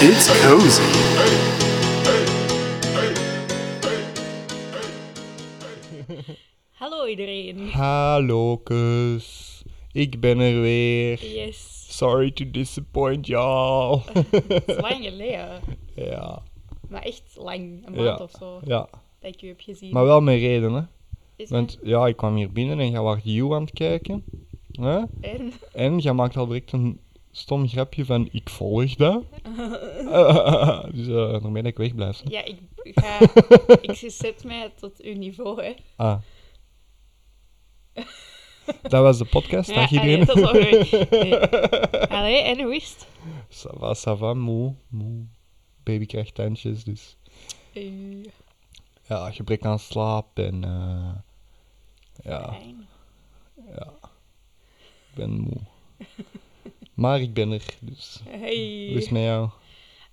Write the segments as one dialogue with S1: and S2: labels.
S1: It's cozy.
S2: Hallo iedereen.
S3: Hallo kus, ik ben er weer.
S2: Yes.
S3: Sorry to disappoint y'all.
S2: Het is lang geleden.
S3: ja,
S2: Maar echt lang. Een maand
S3: ja,
S2: of zo.
S3: ja,
S2: Dat ik je heb gezien.
S3: maar wel met reden hè.
S2: Is
S3: Want ja, ik kwam hier binnen en jij was You aan het kijken. Hè?
S2: dat- En?
S3: En jij maakt al direct een stom grapje van ik volg dat. dus eh daarmee dat ik wegblijf. hè.
S2: Ja, ik ga... ik zet mij tot uw niveau, hè.
S3: Ah. Dat was de podcast, dag
S2: Ja, allee,
S3: iedereen.
S2: dat is wel goed. Nee. Allee, en hoe is het?
S3: Ça va, ça va, moe, moe. Baby krijgt tandjes, dus...
S2: Eh,
S3: ja, gebrek aan slaap en eh, ja,
S2: fijn.
S3: ik ben moe. Maar ik ben er, dus
S2: Hey.
S3: hoe is het met jou?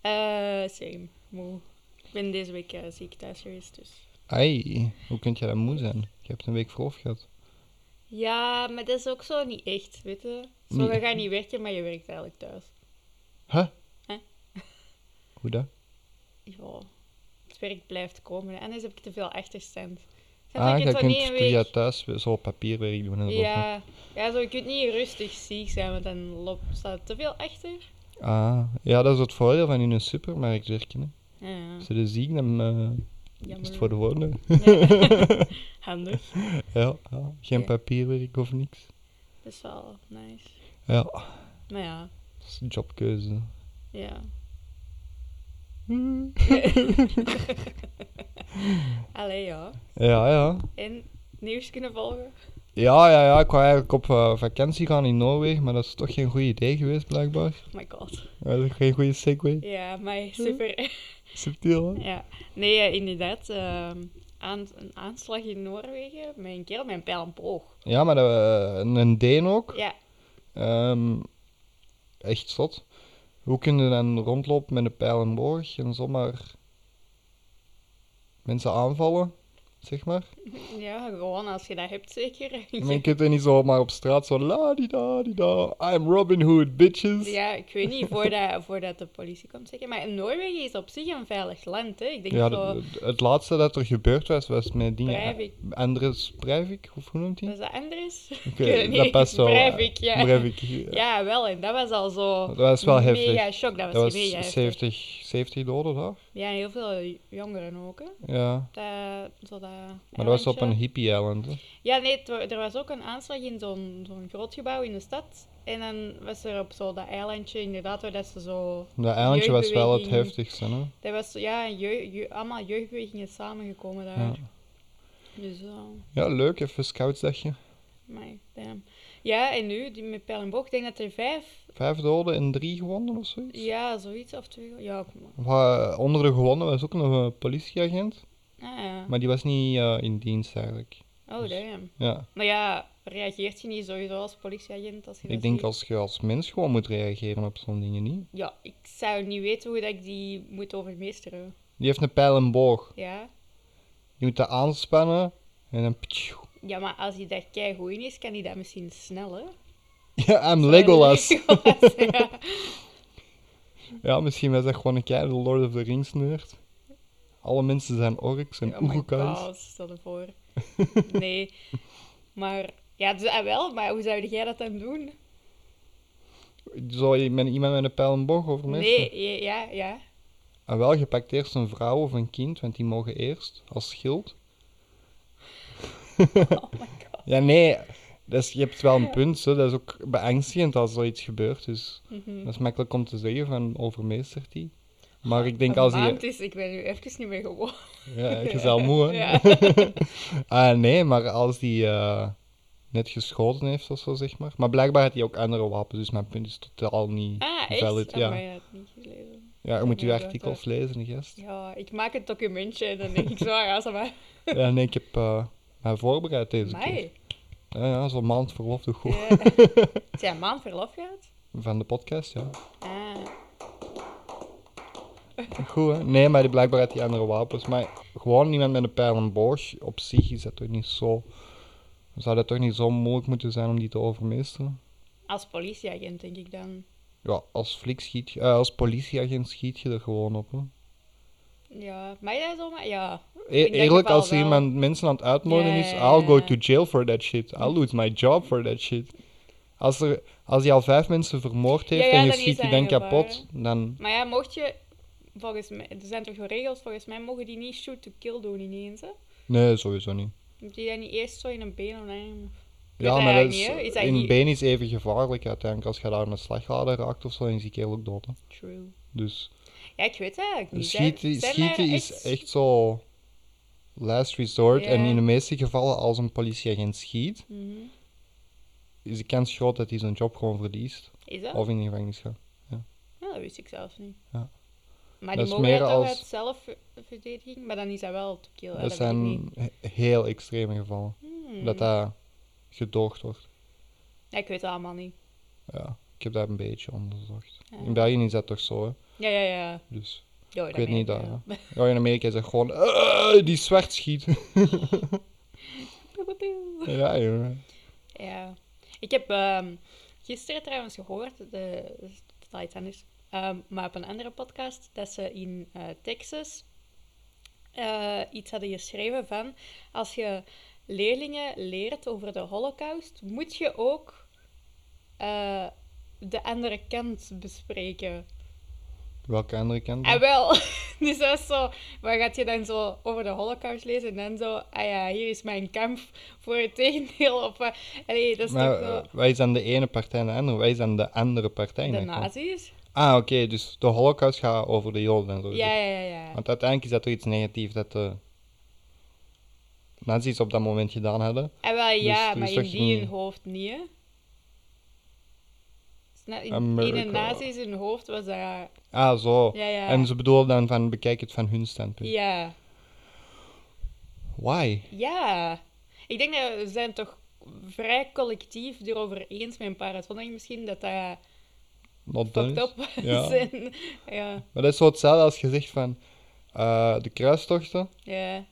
S2: Eh, same. Moe. Ik ben deze week eh, ziek thuis geweest, dus...
S3: Ai, hoe kun jij dan moe zijn? Je hebt een week verlof gehad.
S2: Ja, maar dat is ook zo niet echt, weet je. Zo,
S3: Niet
S2: je gaat niet werken, maar je werkt eigenlijk thuis.
S3: Huh?
S2: Hè?
S3: Hoe dat?
S2: Ja, het werk blijft komen. En dus heb ik te veel achterstand. Snap
S3: ah,
S2: je?
S3: je
S2: kunt
S3: kunt
S2: niet een
S3: via
S2: week-
S3: thuis weer zo papierwerk doen en zo.
S2: Ja, ja zo, je kunt niet rustig ziek zijn, want dan loopt, staat te veel achter.
S3: Ah, ja, dat is het voordeel van in een supermarkt werken. Hè.
S2: Ja,
S3: Als je de ziek, dan eh, is het voor
S2: jammer.
S3: de volgende.
S2: Ja. Handig.
S3: ja, ja, geen
S2: Ja.
S3: papierwerk of niks.
S2: Dat is wel nice.
S3: Ja,
S2: Maar ja,
S3: dat is een jobkeuze.
S2: ja. Mm. Allee, ja.
S3: Ja, ja.
S2: En nieuws kunnen volgen.
S3: Ja, ja, ja. Ik wou eigenlijk op eh, vakantie gaan in Noorwegen, maar dat is toch geen goed idee geweest, blijkbaar.
S2: Oh my god.
S3: Dat is geen goede segue.
S2: Ja,
S3: Hm?
S2: maar super.
S3: Subtiel, hè?
S2: Ja, nee, eh, inderdaad. ehm, aan, een aanslag in Noorwegen met een kerel met een pijl en boog.
S3: Ja, maar dat, eh, een- een Deen ook.
S2: Ja,
S3: Ehm, echt zot. Hoe kun je dan rondlopen met een pijl en boog en zomaar mensen aanvallen, zeg maar?
S2: ja, gewoon als je dat hebt zeker.
S3: Ik je kunt er niet zomaar op straat zo la di da di da. I'm Robin Hood, bitches.
S2: Ja, ik weet niet, voordat, voordat de politie komt zeker. Maar Noorwegen is op zich een veilig land, hè. Ik denk
S3: Ja,
S2: zo,
S3: d- d- het laatste dat er gebeurd was, was met dingen.
S2: Breivik.
S3: Andres Breivik, of hoe noemt hij?
S2: was dat Anders?
S3: Oké,
S2: Ik weet het
S3: dat
S2: niet.
S3: past wel.
S2: Breivik, ja.
S3: Breivik,
S2: Ja, wel, en dat was al zo...
S3: Dat was wel heftig.
S2: Mega shock, dat was,
S3: Dat was
S2: mega heftig.
S3: 70, 70 doden daar.
S2: Ja, en heel veel jongeren ook, hè.
S3: Ja.
S2: Dat, zo dat
S3: Maar dat was op
S2: eilandje.
S3: een hippie island. hè.
S2: Ja, nee, het wa- er was ook een aanslag in zo'n zo'n groot gebouw in de stad. En dan was er op zo dat eilandje, inderdaad, waar dat ze zo...
S3: Dat eilandje was wel het
S2: Jeugdbeweging.
S3: heftigste. Hè?
S2: Dat was, ja, jeu- jeu- allemaal jeugdbewegingen samengekomen daar.
S3: Ja.
S2: Dus, eh,
S3: ja, leuk. Even een scoutsdagje.
S2: my damn. Ja, en nu, die met pijl en boog, ik denk dat er vijf,
S3: Vijf doden en drie gewonden of zoiets.
S2: ja, zoiets of twee, ja, kom maar.
S3: Of, eh, onder de gewonden was ook nog een politieagent.
S2: Ah, ja.
S3: Maar die was niet eh, in dienst eigenlijk.
S2: Oh, damn.
S3: Ja.
S2: Maar ja, reageert je niet sowieso als politieagent als je dat
S3: Ik denk
S2: ziet?
S3: als je als mens gewoon moet reageren op zo'n dingen niet.
S2: Ja, ik zou niet weten hoe dat ik die moet overmeesteren.
S3: Die heeft een pijl en boog.
S2: Ja?
S3: Je moet dat aanspannen en dan. ptjoe.
S2: Ja, maar als hij daar keigoed in is, kan hij dat misschien sneller.
S3: Ja, I'm Legolas.
S2: Legolas, ja.
S3: Ja, misschien was dat gewoon een keiharde Lord of the Rings nerd. Alle mensen zijn orks en
S2: Oh my
S3: oerukais.
S2: god, stel je voor. Nee. Maar, ja, dus, ah, wel, maar hoe zou jij dat dan doen?
S3: Zou je met iemand met een pijl en boog overmeesteren?
S2: Nee, ja, ja, ja.
S3: En Ah, wel, je pakt eerst een vrouw of een kind, want die mogen eerst als schild.
S2: Oh my god.
S3: Ja, nee, dat is- je hebt wel een punt. Hè. Dat is ook beangstigend als zoiets gebeurt. Dus
S2: Mhm.
S3: dat is makkelijk om te zeggen van overmeestert die. Maar ik denk als
S2: Een maand
S3: je...
S2: is, ik ben nu even niet meer gewoon.
S3: Ja, je zal moe, hè?
S2: Ja.
S3: Ah, nee, maar als die eh, net geschoten heeft of zo, zeg maar. Maar blijkbaar had hij ook andere wapens, dus mijn punt is totaal niet
S2: Ah, echt?
S3: valid.
S2: Oh,
S3: ja.
S2: maar ja, het niet gelezen.
S3: ja, je moet je
S2: Ja, dat-
S3: artikels lezen, gast.
S2: Ja, ik maak een documentje en dan denk ik zo, ah, ja, zeg maar.
S3: Ja, nee, ik heb eh mij voorbereid deze keer.
S2: Mij?
S3: Ja, ja zo'n maand verlof toch goed.
S2: Ja. Heb jij een maand verlof gehad?
S3: Van de podcast, ja.
S2: Ah,
S3: Goed, hè? Nee, maar die blijkbaar had die andere wapens. Maar gewoon iemand met een pijl en boog op zich is dat toch niet zo... Zou dat toch niet zo moeilijk moeten zijn om die te overmeesteren?
S2: als politieagent denk ik dan.
S3: Ja, als flik schiet je, eh, als politieagent schiet je er gewoon op. Hè.
S2: Ja, mij dat zomaar? Ja.
S3: E-
S2: In dat
S3: eerlijk,
S2: geval
S3: als
S2: wel.
S3: iemand mensen aan het uitmoorden
S2: Ja,
S3: is,
S2: ja, ja,
S3: I'll go
S2: ja.
S3: to jail for that shit. I'll lose my job for that shit. Als, er, als hij al vijf mensen vermoord heeft
S2: ja,
S3: en je
S2: dan is
S3: schiet die
S2: hij
S3: dan
S2: een gevaar,
S3: kapot, dan...
S2: Maar ja, mocht je... Volgens mij, er zijn toch wel regels, volgens mij mogen die niet shoot to kill doen ineens, hè?
S3: Nee, sowieso niet.
S2: Moet je dat niet eerst zo in een been of een weet
S3: Ja,
S2: hij
S3: maar dat
S2: eigenlijk
S3: is,
S2: niet, hè? Is hij
S3: in
S2: niet-
S3: been is even gevaarlijk uiteindelijk. Als je daar een slagader raakt of zo, dan is die kerel ook dood. Hè.
S2: True.
S3: Dus
S2: Ja, ik weet het eigenlijk niet. Zijn-
S3: schieten,
S2: zijn
S3: schieten
S2: daar
S3: is echt zo last resort.
S2: Ja.
S3: En in de meeste gevallen, als een politieagent schiet,
S2: Mhm.
S3: is de kans groot dat hij zijn job gewoon verliest.
S2: Is dat?
S3: Of in de gevangenis gaat.
S2: Ja, dat wist ik zelfs niet.
S3: Ja.
S2: Maar
S3: Dat
S2: die
S3: is
S2: mogen
S3: meer
S2: dat toch
S3: als-
S2: uit zelfverdediging, maar dan is dat wel te kill. hè,
S3: dat
S2: weet ik
S3: zijn
S2: niet.
S3: he- heel extreme gevallen.
S2: Hmm.
S3: Dat dat gedoogd wordt.
S2: Ja, ik weet het allemaal niet.
S3: Ja, ik heb dat een beetje onderzocht.
S2: Ja.
S3: In België is dat toch zo, hè?
S2: Ja, ja, ja.
S3: Dus...
S2: Ja,
S3: Ik weet niet dat,
S2: ja.
S3: ja. Ja, in Amerika is het gewoon, "Eh, die zwart schiet.
S2: Pew, pew, pew.
S3: ja, jongen.
S2: Ja. Ik heb ehm, gisteren trouwens gehoord, de, dat is totaal iets anders, ehm, maar op een andere podcast, dat ze in eh, Texas eh, iets hadden geschreven van als je leerlingen leert over de holocaust, moet je ook eh, de andere kant bespreken.
S3: Welke andere kant?
S2: En
S3: dan?
S2: wel, dus dat is zo, waar gaat je dan zo over de holocaust lezen en dan zo, ah ja, hier is mijn kamp voor het tegendeel. Of, eh, allee, dat is
S3: Maar
S2: toch zo...
S3: eh, wij zijn de ene partij en de andere. Wij zijn de andere partij.
S2: De
S3: eigenlijk wel.
S2: nazi's?
S3: Ah, oké. dus de holocaust gaat over de joden en zo.
S2: Ja, ja, ja. ja.
S3: Want uiteindelijk is dat toch iets negatiefs dat de nazi's op dat moment gedaan hadden.
S2: En Eh, wel, ja,
S3: dus
S2: maar
S3: zeg
S2: in
S3: je
S2: die
S3: niet-
S2: hun hoofd niet, hè? Sna- In, in
S3: America.
S2: een nazi's hun hoofd was dat... Ja,
S3: Ah, zo.
S2: ja. Ja,
S3: En ze bedoelen dan van, bekijk het van hun standpunt.
S2: ja.
S3: Why?
S2: ja. Ik denk dat we zijn toch vrij collectief erover eens met een paar uitzonderingen misschien, dat dat
S3: Not done
S2: fucked
S3: is.
S2: up was.
S3: Ja.
S2: en- ja,
S3: Maar dat is zo hetzelfde als je zegt van, eh, de kruistochten,
S2: ja.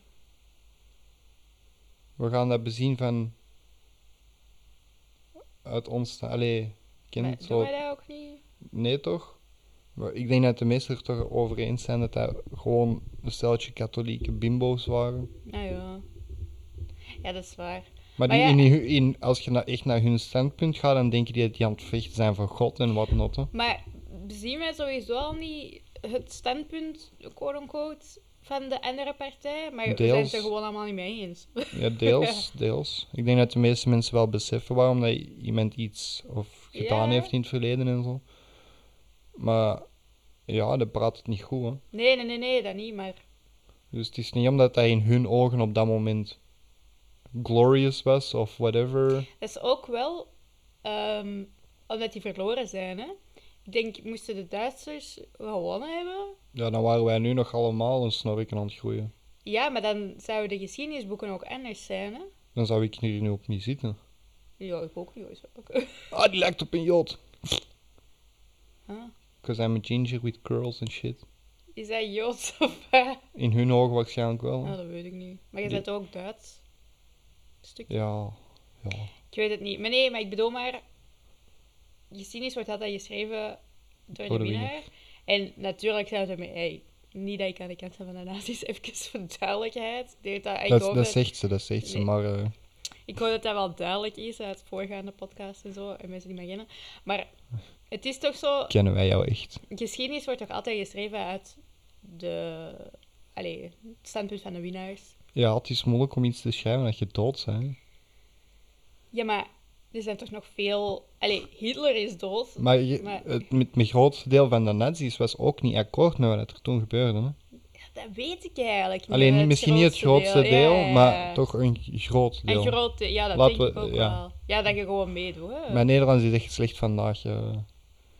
S3: we gaan dat bezien van, uit ons, allee, kind,
S2: Maar
S3: zo,
S2: doen wij dat ook niet?
S3: nee toch? Maar ik denk dat de meesten er toch over eens zijn dat dat gewoon een steltje katholieke bimbo's waren.
S2: Nou ja. Ja, dat is waar.
S3: Maar, die,
S2: Maar ja.
S3: in, hun- in, als je nou echt naar hun standpunt gaat, dan denken die dat die aan het vechten zijn voor God en wat not. hè.
S2: Maar zien wij sowieso al niet het standpunt, quote-unquote, van de andere partij? Maar we zijn het er
S3: Deels.
S2: gewoon allemaal niet mee eens.
S3: Ja, deels, deels. Ik denk dat de meeste mensen wel beseffen waarom dat iemand iets of gedaan
S2: Ja.
S3: heeft in het verleden en zo. Maar ja, dat praat het niet goed. Hè.
S2: Nee, nee, nee, nee, dat niet, maar...
S3: Dus het is niet omdat hij in hun ogen op dat moment glorious was of whatever.
S2: Dat is ook wel ehm, omdat die verloren zijn, hè. Ik denk, moesten de Duitsers gewonnen hebben?
S3: Ja, dan waren wij nu nog allemaal een snorken aan het groeien.
S2: Ja, maar dan zouden de geschiedenisboeken ook anders zijn, hè.
S3: Dan zou ik hier nu ook niet zitten.
S2: Ja, ik ook niet, hoor. zo.
S3: Ah, die lijkt op een jood.
S2: Huh?
S3: Because I'm a ginger with curls and shit.
S2: Is dat Joods of wat?
S3: In hun ogen waarschijnlijk wel. hè.
S2: Nou, dat weet ik niet. Maar je
S3: Die-
S2: bent ook Duits. Stuk.
S3: Ja, ja.
S2: Ik weet het niet. Maar nee, maar ik bedoel maar... Geschiedenis wordt altijd geschreven door de
S3: Door de
S2: winnaar. En natuurlijk zijn we ermee... Hey, niet dat ik aan de kant sta van de nazi's, even voor de duidelijkheid. Ik, denk dat, ik,
S3: Dat,
S2: hoop
S3: dat
S2: dat,
S3: zegt ze, dat zegt ze.
S2: Nee.
S3: Maar eh,
S2: ik hoop dat dat wel duidelijk is uit voorgaande podcasts en zo, en mensen die mij kennen. Maar het is toch zo,
S3: kennen wij jou echt?
S2: geschiedenis wordt toch altijd geschreven uit de, allee, het standpunt van de winnaars.
S3: Ja, het is moeilijk om iets te schrijven dat je dood bent.
S2: Ja, maar er zijn toch nog veel... Allee, Hitler is dood.
S3: Maar, je-
S2: Maar-
S3: het met mijn grootste deel van de nazi's was ook niet akkoord met wat er toen gebeurde. Hè?
S2: Dat weet ik eigenlijk niet.
S3: Alleen
S2: hè,
S3: niet, misschien niet het grootste deel,
S2: Ja, ja, ja.
S3: maar toch een g- groot
S2: Een
S3: deel.
S2: groot deel, ja, dat
S3: Laten
S2: denk
S3: we-
S2: ik ook
S3: ja.
S2: wel. Ja, dat je gewoon meedoet. Hè.
S3: Mijn Nederlands is echt slecht vandaag. eh.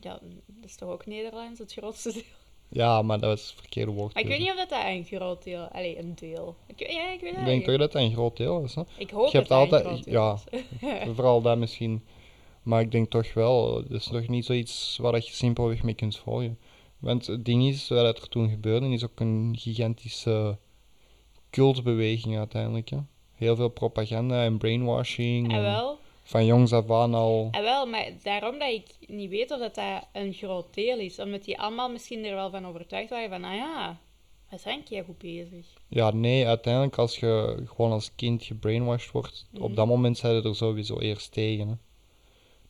S2: Ja, dat is toch ook Nederlands, het grootste deel.
S3: Ja, maar dat was het verkeerde woord. dus
S2: Maar ik weet niet of dat een groot deel... Allee, een deel. Ik, weet- ja, ik weet het
S3: Ik denk
S2: eigenlijk.
S3: toch dat dat een groot deel is. Hè?
S2: Ik hoop
S3: je hebt
S2: dat dat een
S3: altijd-
S2: groot deel
S3: ja.
S2: is.
S3: Vooral dat misschien. Maar ik denk toch wel, het is nog niet zoiets waar dat je simpelweg mee kunt volgen. Want het ding is, wat er toen gebeurde, is ook een gigantische cultbeweging uiteindelijk. Hè? Heel veel propaganda en brainwashing.
S2: En
S3: En
S2: Ah, wel,
S3: van jongs af aan al.
S2: En wel, maar daarom dat ik niet weet of dat, dat een groot deel is. Omdat die allemaal misschien er wel van overtuigd waren van, ah ja, we zijn keer goed bezig.
S3: Ja, nee, uiteindelijk als je gewoon als kind gebrainwashed wordt, op dat moment zijn je er sowieso eerst tegen. Hè.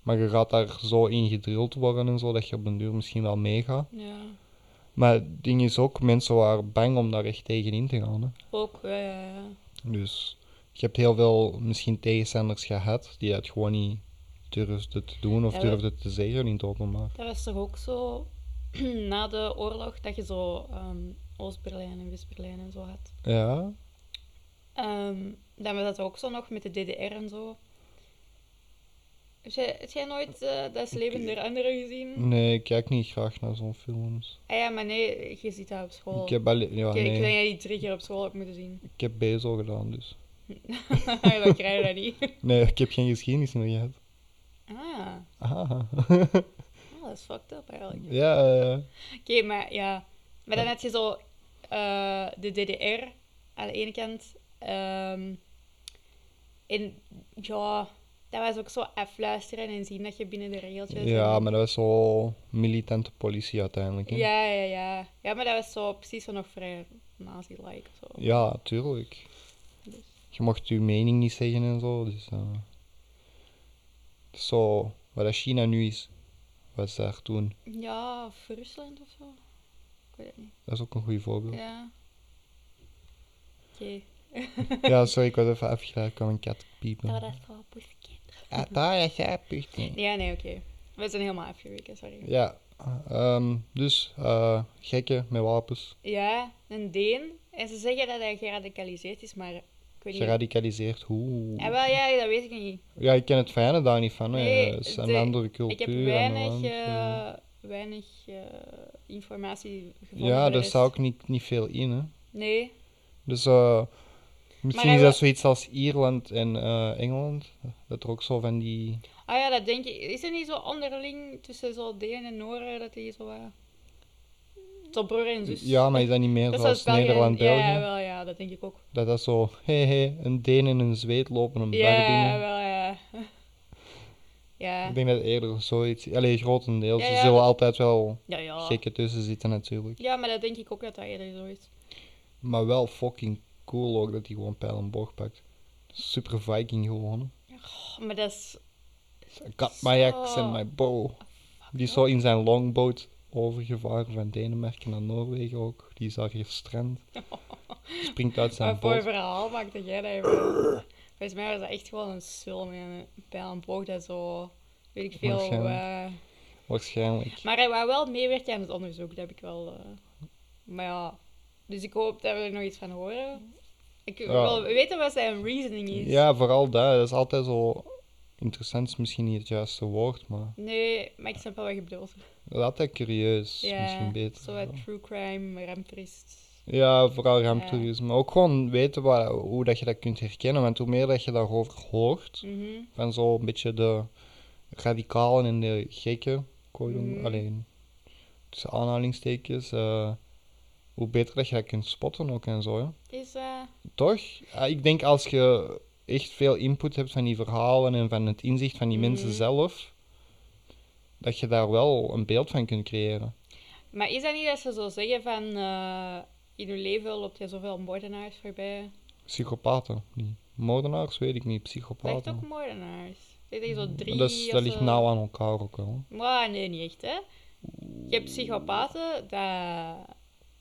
S3: Maar je gaat daar zo in gedrild worden en zo, dat je op den duur misschien wel meegaat.
S2: Ja.
S3: Maar het ding is ook, mensen waren bang om daar echt tegen in te gaan. Hè.
S2: Ook, ja, ja, ja.
S3: Dus je hebt heel veel misschien tegenstanders gehad die het gewoon niet durfden te doen of
S2: Ja, wel.
S3: durfden te zeggen in het openbaar.
S2: Dat was toch ook zo na de oorlog dat je zo ehm, Oost-Berlijn en West-Berlijn en zo had.
S3: Ja,
S2: Ehm, dan was dat ook zo nog met de DDR en zo. Heb jij, heb jij nooit eh, Dat is Leven der Anderen gezien?
S3: nee, ik kijk niet graag naar zo'n films.
S2: Ah ja, maar nee, je ziet dat op school.
S3: Ik heb, alle- ja,
S2: Oh. Ik- Ik denk
S3: nee,
S2: dat je die drie keer op school hebt moeten zien.
S3: ik heb Bezo gedaan, dus.
S2: dat krijg je dat niet.
S3: Nee, ik heb geen geschiedenis meer gehad.
S2: Ah,
S3: Ah.
S2: oh, dat is fucked up eigenlijk.
S3: ja, eh,
S2: Oké, maar ja. Maar dan had je zo eh, de DDR aan de ene kant. ehm, en ja, dat was ook zo afluisteren en zien dat je binnen de regeltjes...
S3: ja,
S2: en-
S3: maar dat was zo militante politie uiteindelijk. Hè?
S2: Ja, ja, ja. Ja, maar dat was zo precies zo nog vrij nazi-like of zo.
S3: Ja, tuurlijk.
S2: Dus.
S3: Je mocht je mening niet zeggen en zo. Dus, eh, het is zo, wat dat China nu is, was daar toen.
S2: Ja, of Rusland of zo. Ik weet het niet.
S3: Dat is ook een goed voorbeeld. Ja,
S2: Ja. Oké.
S3: sorry, ik was even afgeleid. Ik kwam een kat piepen.
S2: Oh, dat is wel poeskind.
S3: Ah, daar is hij, piepen.
S2: Ja, nee, oké. We zijn helemaal afgeweken, sorry.
S3: Ja, ehm, dus eh, gekken met wapens,
S2: Ja, een Deen. En ze zeggen dat hij geradicaliseerd is, maar ik weet niet.
S3: geradicaliseerd. Hoe?
S2: Ja, wel, ja, dat weet ik niet.
S3: Ja, ik ken het fijne daar niet van. hè.
S2: Nee,
S3: Het is een
S2: de-
S3: andere cultuur.
S2: Ik heb
S3: en een
S2: weinig, eh,
S3: andere-
S2: weinig eh, informatie gevonden.
S3: Ja,
S2: voor de
S3: daar
S2: rest.
S3: staat ook niet, niet veel in. Hè.
S2: Nee,
S3: Dus eh, misschien
S2: hij
S3: is dat
S2: wa-
S3: zoiets als Ierland en eh, Engeland. Dat er ook zo van die.
S2: Ah ja, dat denk ik. Is er niet zo onderling tussen zo Deen en Noren dat die zo wat... Zo broer en zus.
S3: Ja, maar is dat niet meer
S2: dat is
S3: zoals
S2: België en-
S3: Nederland-België?
S2: Dus- Ja, wel, ja, dat denk ik ook.
S3: Dat dat zo, hé hé, een Deen en een Zweed lopen een bar
S2: Ja,
S3: binnen.
S2: wel, ja. Ja,
S3: Ik denk dat eerder zoiets. Allee, grotendeels.
S2: Ja,
S3: er
S2: ja, Oh.
S3: zullen
S2: dat-
S3: altijd wel
S2: ja, ja.
S3: gekken tussen zitten, natuurlijk.
S2: Ja, maar dat denk ik ook dat dat eerder zo is.
S3: Maar wel fucking cool ook dat hij gewoon pijl en boog pakt. Super Viking gewoon.
S2: Oh, maar dat is...
S3: I got my axe
S2: Zo.
S3: and my bow. Die is zo in zijn longboat overgevaren van Denemarken naar Noorwegen ook. Die is daar gestrand. Springt uit zijn
S2: Wat voor
S3: boot.
S2: verhaal maakte jij dat even? Volgens mij was dat echt gewoon een sul met een pijl en boog dat zo... Weet ik veel.
S3: Waarschijnlijk.
S2: eh,
S3: Waarschijnlijk.
S2: maar hij wou wel meewerken aan het onderzoek, dat heb ik wel... eh, maar ja... Dus ik hoop dat we er nog iets van horen. Ik wil weten wat zijn reasoning is.
S3: Ja, vooral dat. Dat is altijd zo... Interessant is misschien niet het juiste woord, maar...
S2: Nee, maar ik snap wel wat je bedoelt.
S3: dat is Altijd curieus. misschien beter.
S2: Zo wat true crime, ramptoerist.
S3: Ja, vooral ramptoerisme. Maar ook gewoon weten waar, hoe dat je dat kunt herkennen. Want hoe meer dat je daarover hoort,
S2: Mhm.
S3: van zo een beetje de radicalen en de gekken. Mm.
S2: Mhm.
S3: Alleen tussen aanhalingstekens. eh, hoe beter dat je dat kunt spotten ook en zo. Hè.
S2: Is, eh,
S3: Toch? Ah, ik denk als je echt veel input hebt van die verhalen en van het inzicht van die mensen
S2: Mhm.
S3: zelf, dat je daar wel een beeld van kunt creëren.
S2: Maar is dat niet dat ze zo zeggen van... eh, in je leven loopt je zoveel moordenaars voorbij?
S3: Psychopaten, niet. Moordenaars weet ik niet,
S2: Maar echt ook
S3: psychopaten.
S2: moordenaars. Ik denk zo drie
S3: Mm, dat, is,
S2: of
S3: dat ligt
S2: zo.
S3: nauw aan elkaar ook wel.
S2: Maar nee, niet echt, hè. Je hebt psychopaten dat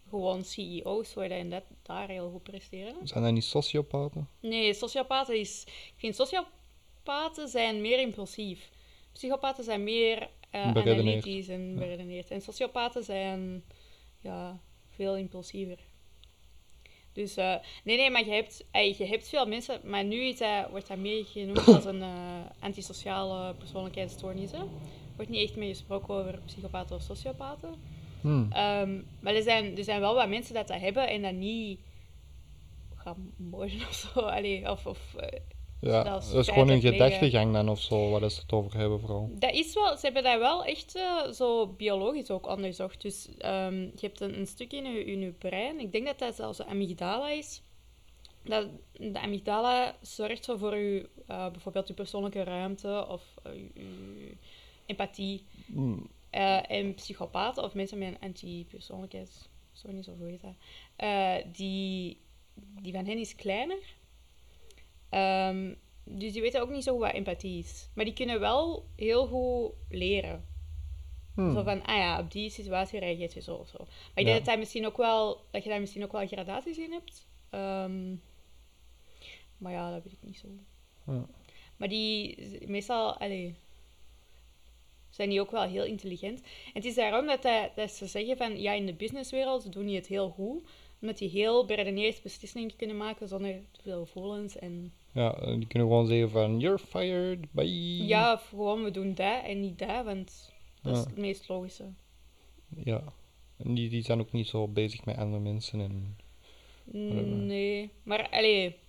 S2: gewoon CEO's worden en dat daar heel goed presteren.
S3: Zijn dat niet sociopaten?
S2: Nee, sociopaten is... Ik vind sociopaten zijn meer impulsief. Psychopaten zijn meer eh,
S3: Beredeneerd.
S2: analytisch en beredeneerd. En sociopaten zijn ja, veel impulsiever. Dus eh, nee, nee, maar je hebt, ey, je hebt veel mensen, maar nu is dat, wordt dat meer genoemd als een eh, antisociale persoonlijkheidsstoornis. hè. Er wordt niet echt meer gesproken over psychopaten of sociopaten.
S3: Hmm.
S2: Ehm, maar er zijn, er zijn wel wat mensen dat dat hebben en dat niet gaan moorden of zo. Allee, of, of, eh,
S3: Ja,
S2: dat is
S3: dat is gewoon
S2: feitelijk
S3: een
S2: liggen.
S3: gedachtegang dan of zo, waar dat ze het over hebben vooral.
S2: dat is wel, ze hebben dat wel echt eh, zo biologisch ook onderzocht. Dus ehm, je hebt een, een stuk in je, in je brein, ik denk dat dat zelfs de amygdala is, dat, de amygdala zorgt zo voor je, eh, bijvoorbeeld je persoonlijke ruimte of eh, je- je empathie.
S3: Mm,
S2: Eh, en psychopaten of mensen met een anti-persoonlijkheidsstoornis of hoe heet dat, eh, die, die van hen is kleiner. Ehm, dus die weten ook niet zo goed wat empathie is. Maar die kunnen wel heel goed leren.
S3: hmm.
S2: Zo van, ah ja, op die situatie reageert je zo of zo. Maar ik denk
S3: Ja.
S2: dat, dat, misschien ook wel, dat je daar misschien ook wel gradaties in hebt. Ehm, maar ja, dat weet ik niet zo.
S3: Ja.
S2: Maar die, z- meestal, allee, zijn die ook wel heel intelligent. En het is daarom dat, hij- dat ze zeggen van, ja, in de businesswereld doen die het heel goed. Omdat die heel beredeneerd beslissingen kunnen maken zonder te veel gevoelens. En,
S3: Ja, en die kunnen gewoon zeggen van, you're fired, bye.
S2: ja, of gewoon, we doen dat en niet dat, want dat is
S3: Ja.
S2: het meest logische.
S3: Ja. En die, die zijn ook niet zo bezig met andere mensen en... Whatever.
S2: Nee, maar allee,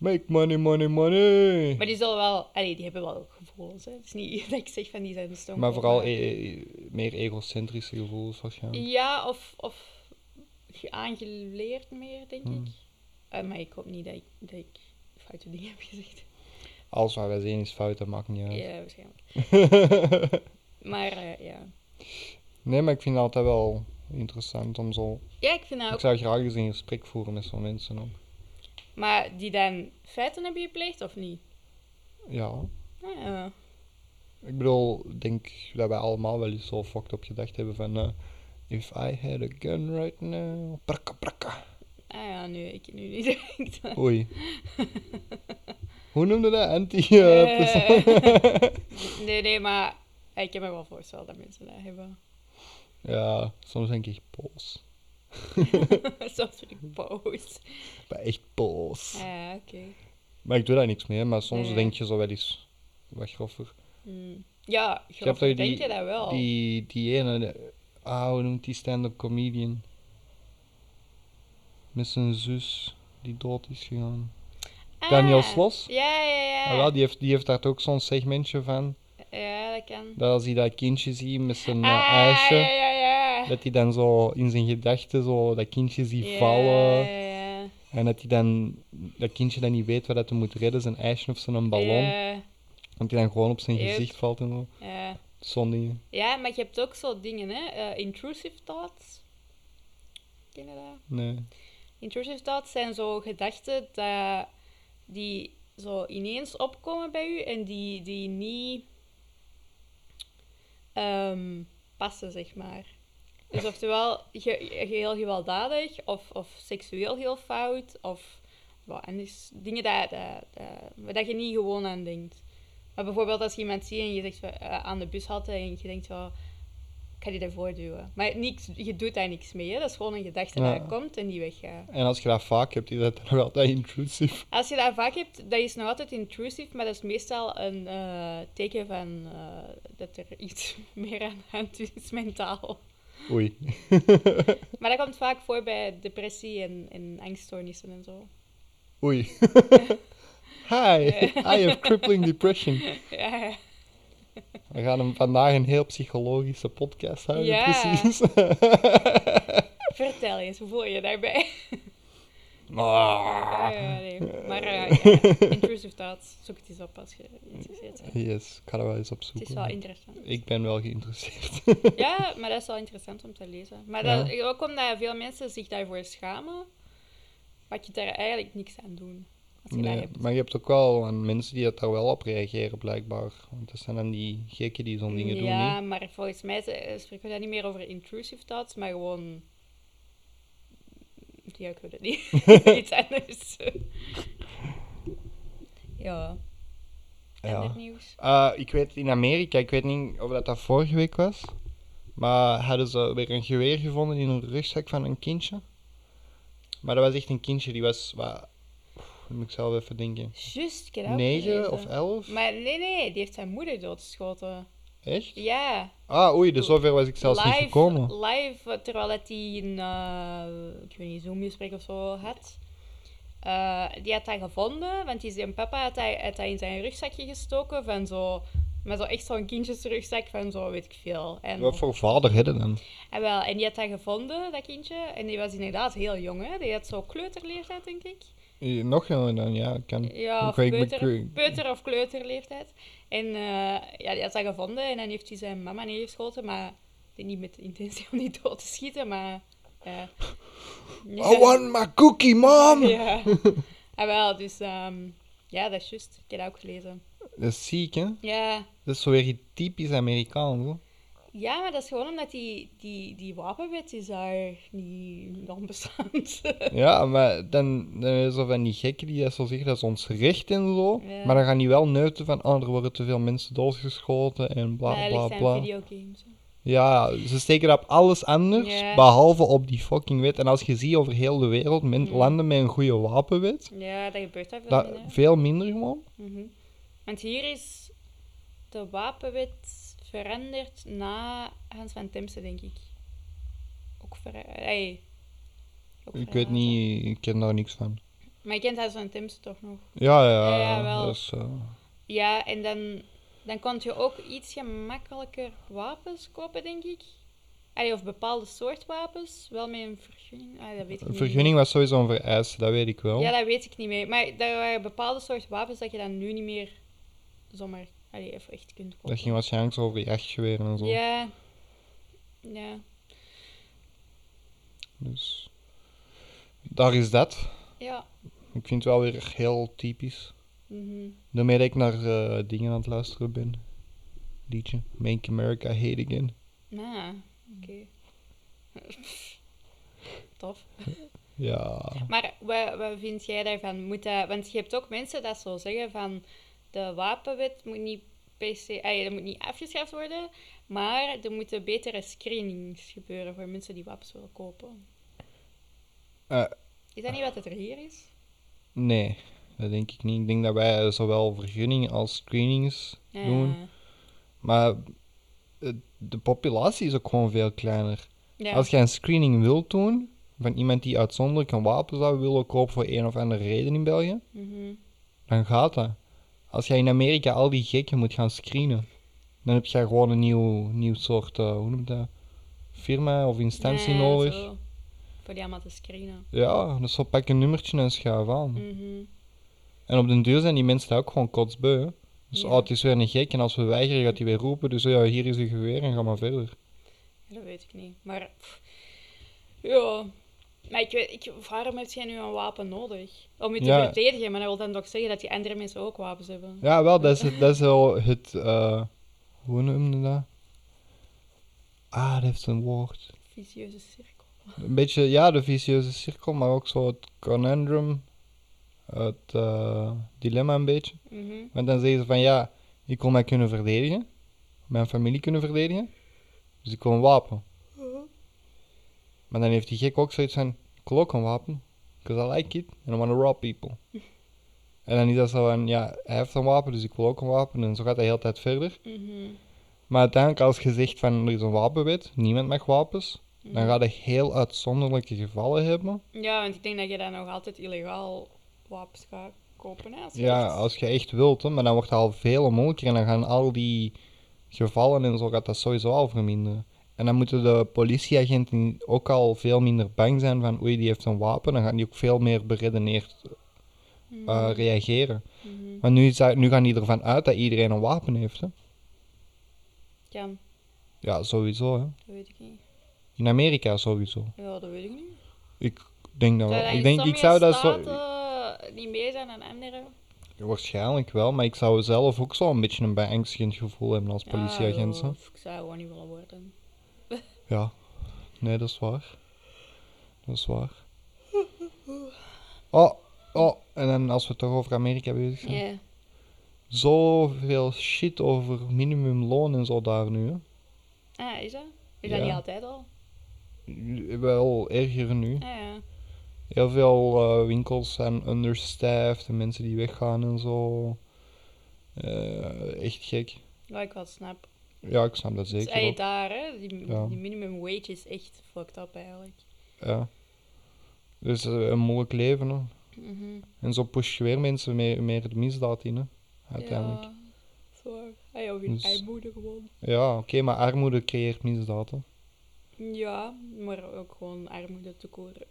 S3: Make money, money, money!
S2: maar die zullen wel, allee, die hebben wel gevoelens. Hè. Het is niet dat ik zeg van die zijn stom.
S3: Maar vooral e- e- meer egocentrische gevoelens waarschijnlijk.
S2: Ja, of, of ge- aangeleerd meer, denk
S3: Hmm.
S2: ik. Eh, maar ik hoop niet dat ik, dat ik foute dingen heb gezegd.
S3: Alles wat wij zien is fout, dat maakt niet
S2: Ja,
S3: uit.
S2: waarschijnlijk. maar eh, ja.
S3: Nee, maar ik vind het altijd wel interessant om zo...
S2: Ja, ik vind dat
S3: Ik
S2: ook.
S3: zou graag eens een gesprek voeren met zo'n mensen ook.
S2: Maar die dan feiten hebben gepleegd of niet?
S3: Ja.
S2: Ah, ja.
S3: Ik bedoel, ik denk dat wij allemaal wel eens zo fucked op gedacht hebben van... eh, If I had a gun right now... Prakka, prakka.
S2: Ah ja, nu, ik nu niet denkt.
S3: Oei. Hoe noemde dat? Anti... eh, persoon-
S2: nee, nee, maar eh, ik kan me wel voorstellen dat mensen dat hebben.
S3: ja, soms denk ik boos.
S2: Soms vind ik boos.
S3: Ik ben echt boos.
S2: Ja, oké.
S3: Maar ik doe daar niks mee, maar soms
S2: Nee.
S3: denk je zo wel eens wat groffer.
S2: Hmm. Ja,
S3: Ik heb
S2: grof
S3: toch
S2: denk
S3: die,
S2: je dat wel.
S3: die, die ene, eh, ah, hoe noemt die stand-up comedian? Met zijn zus, die dood is gegaan. Daniel
S2: Ah,
S3: Slos?
S2: Ja, ja, ja.
S3: Ah, wel, die, heeft, die heeft daar ook zo'n segmentje van.
S2: Ja, dat kan.
S3: Dat als hij dat kindje ziet met zijn eh,
S2: ah,
S3: ijsje,
S2: ja, ja, ja.
S3: dat hij dan zo in zijn gedachten zo dat kindje ziet
S2: Ja,
S3: vallen.
S2: ja, ja.
S3: En dat hij dan, dat kindje dan niet weet wat dat hij moet redden, zijn ijsje of zijn ballon.
S2: Ja,
S3: Dat hij dan gewoon op zijn
S2: Yep.
S3: gezicht valt en zo.
S2: ja.
S3: Zo'n dingen.
S2: Ja, maar je hebt ook zo dingen, hè. eh, intrusive thoughts. Ken je dat?
S3: Nee.
S2: Intrusive thoughts zijn zo gedachten dat die zo ineens opkomen bij u en die, die niet ehm, passen, zeg maar. Dus oftewel ge- ge- heel gewelddadig of, of seksueel heel fout of wat anders. Dingen dat, dat, dat, waar dat je niet gewoon aan denkt. Maar bijvoorbeeld als je iemand ziet en je zegt van, eh, aan de bus had en je denkt zo, ik ga die ervoor duwen. Maar niks, je doet daar niks mee. Hè? Dat is gewoon een gedachte
S3: Ja.
S2: die komt en die weggaat.
S3: En als je dat vaak hebt, is dat dan nog altijd intrusief.
S2: Als je dat vaak hebt, dat is nog altijd intrusief, maar dat is meestal een eh, teken van eh, dat er iets meer aan de hand is mentaal.
S3: Oei.
S2: Maar dat komt vaak voor bij depressie en, en angststoornissen en zo.
S3: Oei. Hi, I have crippling depression.
S2: Ja,
S3: We gaan hem vandaag een heel psychologische podcast houden,
S2: Ja.
S3: precies.
S2: vertel eens, hoe voel je je daarbij?
S3: Ah.
S2: Ah, ja, nee. Maar eh, ja, intrusive thoughts, zoek het eens op als je geïnteresseerd bent.
S3: Yes, ik ga dat wel eens
S2: Het
S3: opzoeken.
S2: is wel interessant.
S3: ik ben wel geïnteresseerd.
S2: Ja, maar dat is wel interessant om te lezen. Maar dat, ook omdat veel mensen zich daarvoor schamen, mag je daar eigenlijk niks aan doen. Als je dat
S3: Nee,
S2: hebt.
S3: maar je hebt ook wel aan mensen die dat daar wel op reageren, blijkbaar. Want dat zijn dan die gekken die zo'n dingen doen,
S2: ja,
S3: niet?
S2: maar volgens mij ze- eh, spreken we daar niet meer over intrusive thoughts, maar gewoon. Ja, ik weet het niet. Iets anders. ja. Ander nieuws.
S3: Eh, ik weet in Amerika, ik weet niet of dat, dat vorige week was, maar hadden ze weer een geweer gevonden in een rugzak van een kindje. Maar dat was echt een kindje, die was, wat, oef, moet ik zelf even denken,
S2: Juist, ik heb dat ook
S3: 9
S2: gelezen.
S3: of 11?
S2: Maar nee, nee, die heeft zijn moeder doodgeschoten.
S3: Echt?
S2: Ja.
S3: Ah, oei, dus zover was ik zelfs niet gekomen.
S2: live, eh, terwijl dat hij een, eh, ik weet niet, Zoom-gesprek of zo had. Eh, die had hij gevonden, want die zijn papa had hij, had hij in zijn rugzakje gestoken van zo... Met zo echt zo'n kindjesrugzak van zo, weet ik veel. En,
S3: Wat voor vader hadden dan?
S2: en, wel, en die had hij gevonden, dat kindje. En die was inderdaad heel jong, hè. Die had zo kleuterleeftijd, denk ik.
S3: Eh, Nog jonger dan, ja. Kan.
S2: Ja, of
S3: Ik weet- ik
S2: peuter,
S3: weet-
S2: peuter of kleuterleeftijd. En eh, ja, die had dat gevonden en dan heeft hij zijn mama neergeschoten, maar ik denk niet met de intentie om die dood te schieten, maar... eh, ja.
S3: I want my cookie, mom!
S2: Ja, ah, wel, dus ehm, ja, dat is juist. Ik heb dat ook gelezen.
S3: Dat is ziek, hè?
S2: Ja,
S3: Dat is zo weer iets typisch Amerikaans, hoor.
S2: ja maar dat is gewoon omdat die, die, die wapenwet is daar niet non-bestaand.
S3: Ja, maar dan, dan is er van die gekken die dat zo zeggen, dat is ons recht en zo.
S2: Ja.
S3: Maar dan gaan die wel neuten van, oh, er worden te veel mensen doodgeschoten en bla
S2: Maar dat
S3: bla
S2: ligt aan
S3: bla.
S2: videogames. hè.
S3: Ja, ze steken dat op alles anders,
S2: Ja.
S3: behalve op die fucking wet. En als je ziet over heel de wereld, men-
S2: Mm.
S3: landen met een goede wapenwet,
S2: Ja, dat gebeurt daar veel
S3: dat,
S2: minder.
S3: veel minder gewoon.
S2: Mhm. Want hier is de wapenwet veranderd na Hans van Temse, denk ik. Ook verra- ey, ook
S3: Ik weet
S2: verraden.
S3: niet, ik ken daar niks van.
S2: Maar je kent Hans van Temse toch nog?
S3: Ja, ja,
S2: Ja, ja, wel.
S3: dat is, eh,
S2: Ja, en dan, dan kon je ook iets gemakkelijker wapens kopen, denk ik. Allee, of bepaalde soort wapens. Wel met een vergunning. Ah, dat weet ik
S3: een
S2: niet.
S3: vergunning was sowieso een vereiste, dat weet ik wel.
S2: Ja, dat weet ik niet meer. Maar er waren bepaalde soort wapens dat je dan nu niet meer zomaar allee, even echt kunt kopen.
S3: dat ging waarschijnlijk zo over jachtgeweren en zo.
S2: Ja. Ja.
S3: Dus daar is dat.
S2: Ja.
S3: Ik vind het wel weer heel typisch.
S2: Mhm.
S3: Daarmee dat ik naar eh, dingen aan het luisteren ben. Liedje. Make America Hate Again.
S2: Ah, oké. Tof.
S3: Ja.
S2: Maar wat, wat vind jij daarvan? Moet dat, want je hebt ook mensen dat zo zeggen van de wapenwet moet niet per se, ah, ja, dat moet niet afgeschaft worden, maar er moeten betere screenings gebeuren voor mensen die wapens willen kopen.
S3: Eh.
S2: is dat niet wat het er hier is?
S3: Nee, dat denk ik niet. Ik denk dat wij zowel vergunningen als screenings
S2: Ja.
S3: doen. Maar eh, de populatie is ook gewoon veel kleiner.
S2: Ja.
S3: Als jij een screening wilt doen van iemand die uitzonderlijk een wapen zou willen kopen voor een of andere reden in België,
S2: Mhm.
S3: dan gaat dat. Als jij in Amerika al die gekken moet gaan screenen, dan heb jij gewoon een nieuw, nieuw soort, eh, hoe noem je dat, firma of instantie
S2: Ja,
S3: nodig.
S2: zo. Voor die allemaal te screenen.
S3: Ja, dus zo pak een nummertje en schuif aan.
S2: Mhm.
S3: En op den duur zijn die mensen daar ook gewoon kotsbeu. hè. Dus
S2: Ja.
S3: oh, het is weer een gek en als we weigeren gaat hij weer roepen. Dus ja, hier is een geweer en ga maar verder.
S2: Ja, Dat weet ik niet. Maar pff, ja. Maar ik weet, ik, waarom heb jij nu een wapen nodig? Om je te
S3: Ja.
S2: verdedigen, maar dat wil dan toch zeggen dat die andere mensen ook wapens hebben.
S3: Ja, wel, dat is, het- dat is wel het... eh, hoe noemde je dat? Ah, dat heeft een woord.
S2: Vicieuze cirkel.
S3: Een beetje, ja, de vicieuze cirkel, maar ook zo het conundrum. Het eh, dilemma een beetje.
S2: Mhm.
S3: Want dan zeggen ze van ja, ik wil mij kunnen verdedigen. Mijn familie kunnen verdedigen. Dus ik wil een wapen. Maar dan heeft die gek ook zoiets van, ik wil ook een wapen. Because I like it and I want to rob people. en dan is dat zo van, ja, hij heeft een wapen, dus ik wil ook een wapen. En zo gaat dat de hele tijd verder.
S2: Mhm.
S3: Maar uiteindelijk als je zegt van, er is een wapenwet, niemand mag wapens. Dan
S2: Mm.
S3: ga je heel uitzonderlijke gevallen hebben.
S2: Ja, want ik denk dat je dan nog altijd illegaal wapens gaat kopen. Hè, als je
S3: Ja,
S2: echt-
S3: als je echt wilt, hè, maar dan wordt het al veel moeilijker en dan gaan al die gevallen en zo gaat dat sowieso al verminderen. En dan moeten de politieagenten ook al veel minder bang zijn van oei, die heeft een wapen, dan gaan die ook veel meer beredeneerd
S2: Mhm.
S3: eh, reageren.
S2: Mhm.
S3: Maar nu, is dat- nu gaan die ervan uit dat iedereen een wapen heeft. Hè?
S2: Kan,
S3: Ja, sowieso. Hè.
S2: dat weet ik niet.
S3: In Amerika sowieso.
S2: Ja, dat weet ik niet.
S3: Ik denk dat
S2: Zou
S3: wel.
S2: dat
S3: Ik
S2: in
S3: denk, ik zou dat zo...
S2: staten eh, niet meer zijn dan anderen.
S3: Waarschijnlijk wel, maar ik zou zelf ook zo een beetje een beangstigend gevoel hebben als
S2: Ja,
S3: politieagent.
S2: ja,
S3: hè.
S2: of Ik zou gewoon niet willen worden.
S3: Ja, nee, dat is waar. Dat is waar. Oh, oh, en dan als we toch over Amerika bezig zijn.
S2: Ja.
S3: Zoveel shit over minimumloon en zo daar nu. Hè.
S2: Ah, is dat? Is
S3: Ja.
S2: dat niet altijd al?
S3: Wel erger nu.
S2: Ah ja.
S3: Heel veel eh, winkels zijn understaffed en mensen die weggaan en zo. Eh, echt gek.
S2: Ja, ik wel snap.
S3: Ja, ik snap dat
S2: Dus
S3: zeker.
S2: ey,
S3: ook.
S2: daar, hè, die,
S3: Ja.
S2: die minimum wage is echt fucked up eigenlijk.
S3: Ja. Dus eh, een moeilijk leven. Hè.
S2: Mhm.
S3: En zo push je weer mensen meer, meer de misdaad in. Hè. Uiteindelijk.
S2: Ja, zwaar. Ey, of in
S3: Dus-
S2: armoede gewoon.
S3: Ja, oké, maar armoede creëert misdaad. hè.
S2: Ja, maar ook gewoon armoede te koren.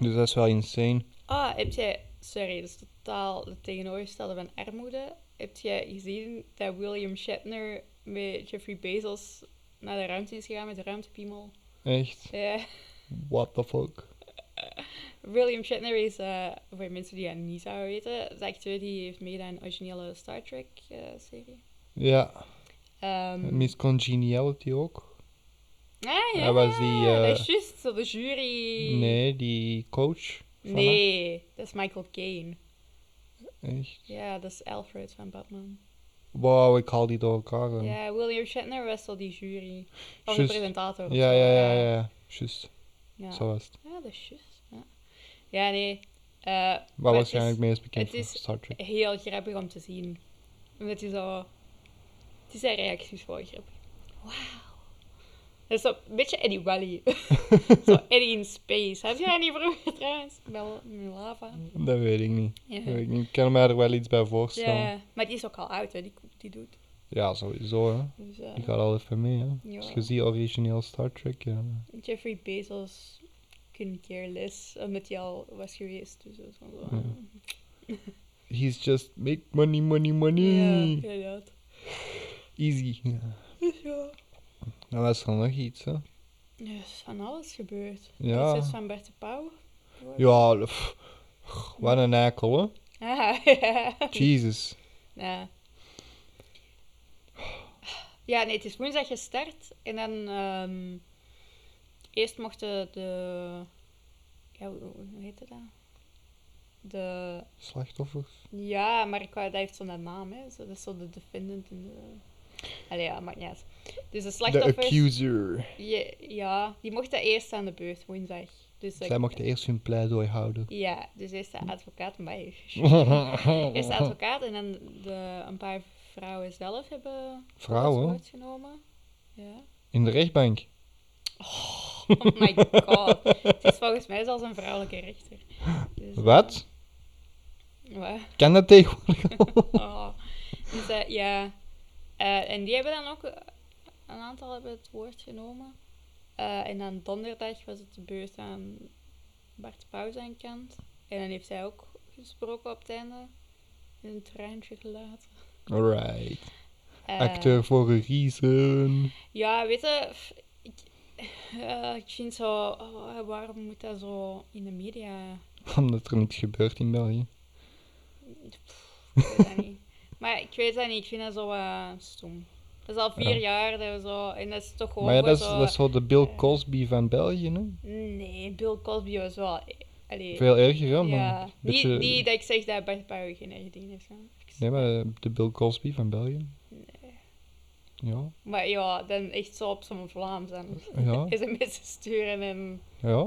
S3: Dus dat is wel insane.
S2: Ah, heb jij... Sorry, dat is totaal het tegenovergestelde van armoede. Heb jij gezien dat William Shatner met Jeffrey Bezos naar de ruimte is gegaan met de ruimtepiemel?
S3: Echt.
S2: Ja.
S3: What the fuck?
S2: William Shatner is, eh, voor mensen die dat niet zouden weten, de acteur die heeft meegedaan aan de originele Star Trek-serie.
S3: Ja,
S2: Ehm
S3: Miss Congeniality ook.
S2: ah, ja,
S3: Hij was die, eh,
S2: dat is juist, zo de jury.
S3: Nee, die coach. van
S2: Nee, dat is Michael Caine.
S3: haar. Echt.
S2: Ja, dat is Alfred van Batman.
S3: Wow, ik haal die door elkaar.
S2: Ja,
S3: hè.
S2: William Shatner was al die jury. Of de
S3: Juist.
S2: presentator. of
S3: ja,
S2: zo,
S3: ja, ja, ja. ja. Juist,
S2: Ja.
S3: zo was het.
S2: Ja, dat is juist. Ja, ja nee. Eh,
S3: Waar
S2: maar het is-
S3: waarschijnlijk meest bekend
S2: het
S3: van
S2: is-
S3: Star Trek.
S2: heel grappig om te zien. Omdat hij zo... Het is zijn reacties voor grappig. Wauw. Dat is zo een beetje Eddie Wally. zo Eddie in space. Heb je dat niet vroeger trouwens? Mel Lava.
S3: Dat weet ik niet.
S2: Ja.
S3: Dat weet ik niet. Ik kan me er wel iets bij voorstellen. Ja,
S2: ja. Maar die is ook al oud, hè, die, die doet.
S3: sowieso. Hè.
S2: Dus, eh,
S3: Ik ga al even mee. Hè.
S2: Ja.
S3: Als je ziet origineel Star Trek, ja.
S2: Jeffrey Bezos couldn't care less. Omdat hij al was geweest. Dus dat is wel zo.
S3: Ja. He's just make money, money, money.
S2: Ja, inderdaad.
S3: Easy. Ja.
S2: Hmm. Dus ja.
S3: Dan was er nog iets, hè.
S2: Er is van alles gebeurd.
S3: Ja.
S2: Er is van Bert de Pauw.
S3: Ja, pff, wat een eikel, hè.
S2: Ah, ja.
S3: Jesus.
S2: Ja. Ja, nee, het is woensdag gestart. En dan... ehm, eerst mochten de... Ja, hoe, hoe hoe heette dat? De...
S3: Slachtoffers.
S2: Ja, maar ik wou- dat heeft zo'n naam, hè. Zo, dat is zo de defendant en de... Allee, ja, maakt niet uit. Dus de
S3: The
S2: slachtoffers...
S3: accuser.
S2: je- ja, die mochten eerst aan de beurt, woensdag. Dus dat-
S3: Zij mocht eerst hun pleidooi houden.
S2: Ja, dus eerst de advocaat, maar Eerst de advocaat en dan de, een paar vrouwen zelf hebben het
S3: Vrouwen?
S2: woord genomen. Ja.
S3: In de rechtbank.
S2: Oh my god. Het is volgens mij zelfs een vrouwelijke rechter. Dus, eh,
S3: Wat?
S2: wat?
S3: Kan dat tegenwoordig?
S2: Oh. Dus, eh, ja. Eh, en die hebben dan ook eh, een aantal hebben het woord genomen. Eh, en dan donderdag was het de beurt aan Bart Pauw zijn kant. En dan heeft hij ook gesproken op het einde. In een treintje gelaten.
S3: Alright.
S2: Eh,
S3: Acteur voor een reason.
S2: Ja, weet je, f- ik, eh, ik vind zo, oh, waarom moet dat zo in de media?
S3: Omdat er niks gebeurt in België.
S2: Pff, ik weet dat niet. Maar ik weet dat niet, ik vind dat zo eh, stom. Dat is al vier
S3: Ja.
S2: jaar dat we zo, en dat is toch gewoon
S3: Maar ja,
S2: voor
S3: dat is,
S2: zo...
S3: dat is zo de Bill
S2: eh,
S3: Cosby van België, hè?
S2: Nee, Bill Cosby was wel, eh, allee,
S3: Veel erger, hè? Maar
S2: ja.
S3: een beetje...
S2: Niet, niet dat ik zeg dat Bart Pauw geen ergedien heeft. hè. Ik-
S3: Nee, maar eh, de Bill Cosby van België. Ja,
S2: Maar ja, dan echt zo op zo'n Vlaams en
S3: ja,
S2: sms'en sturen en
S3: ja.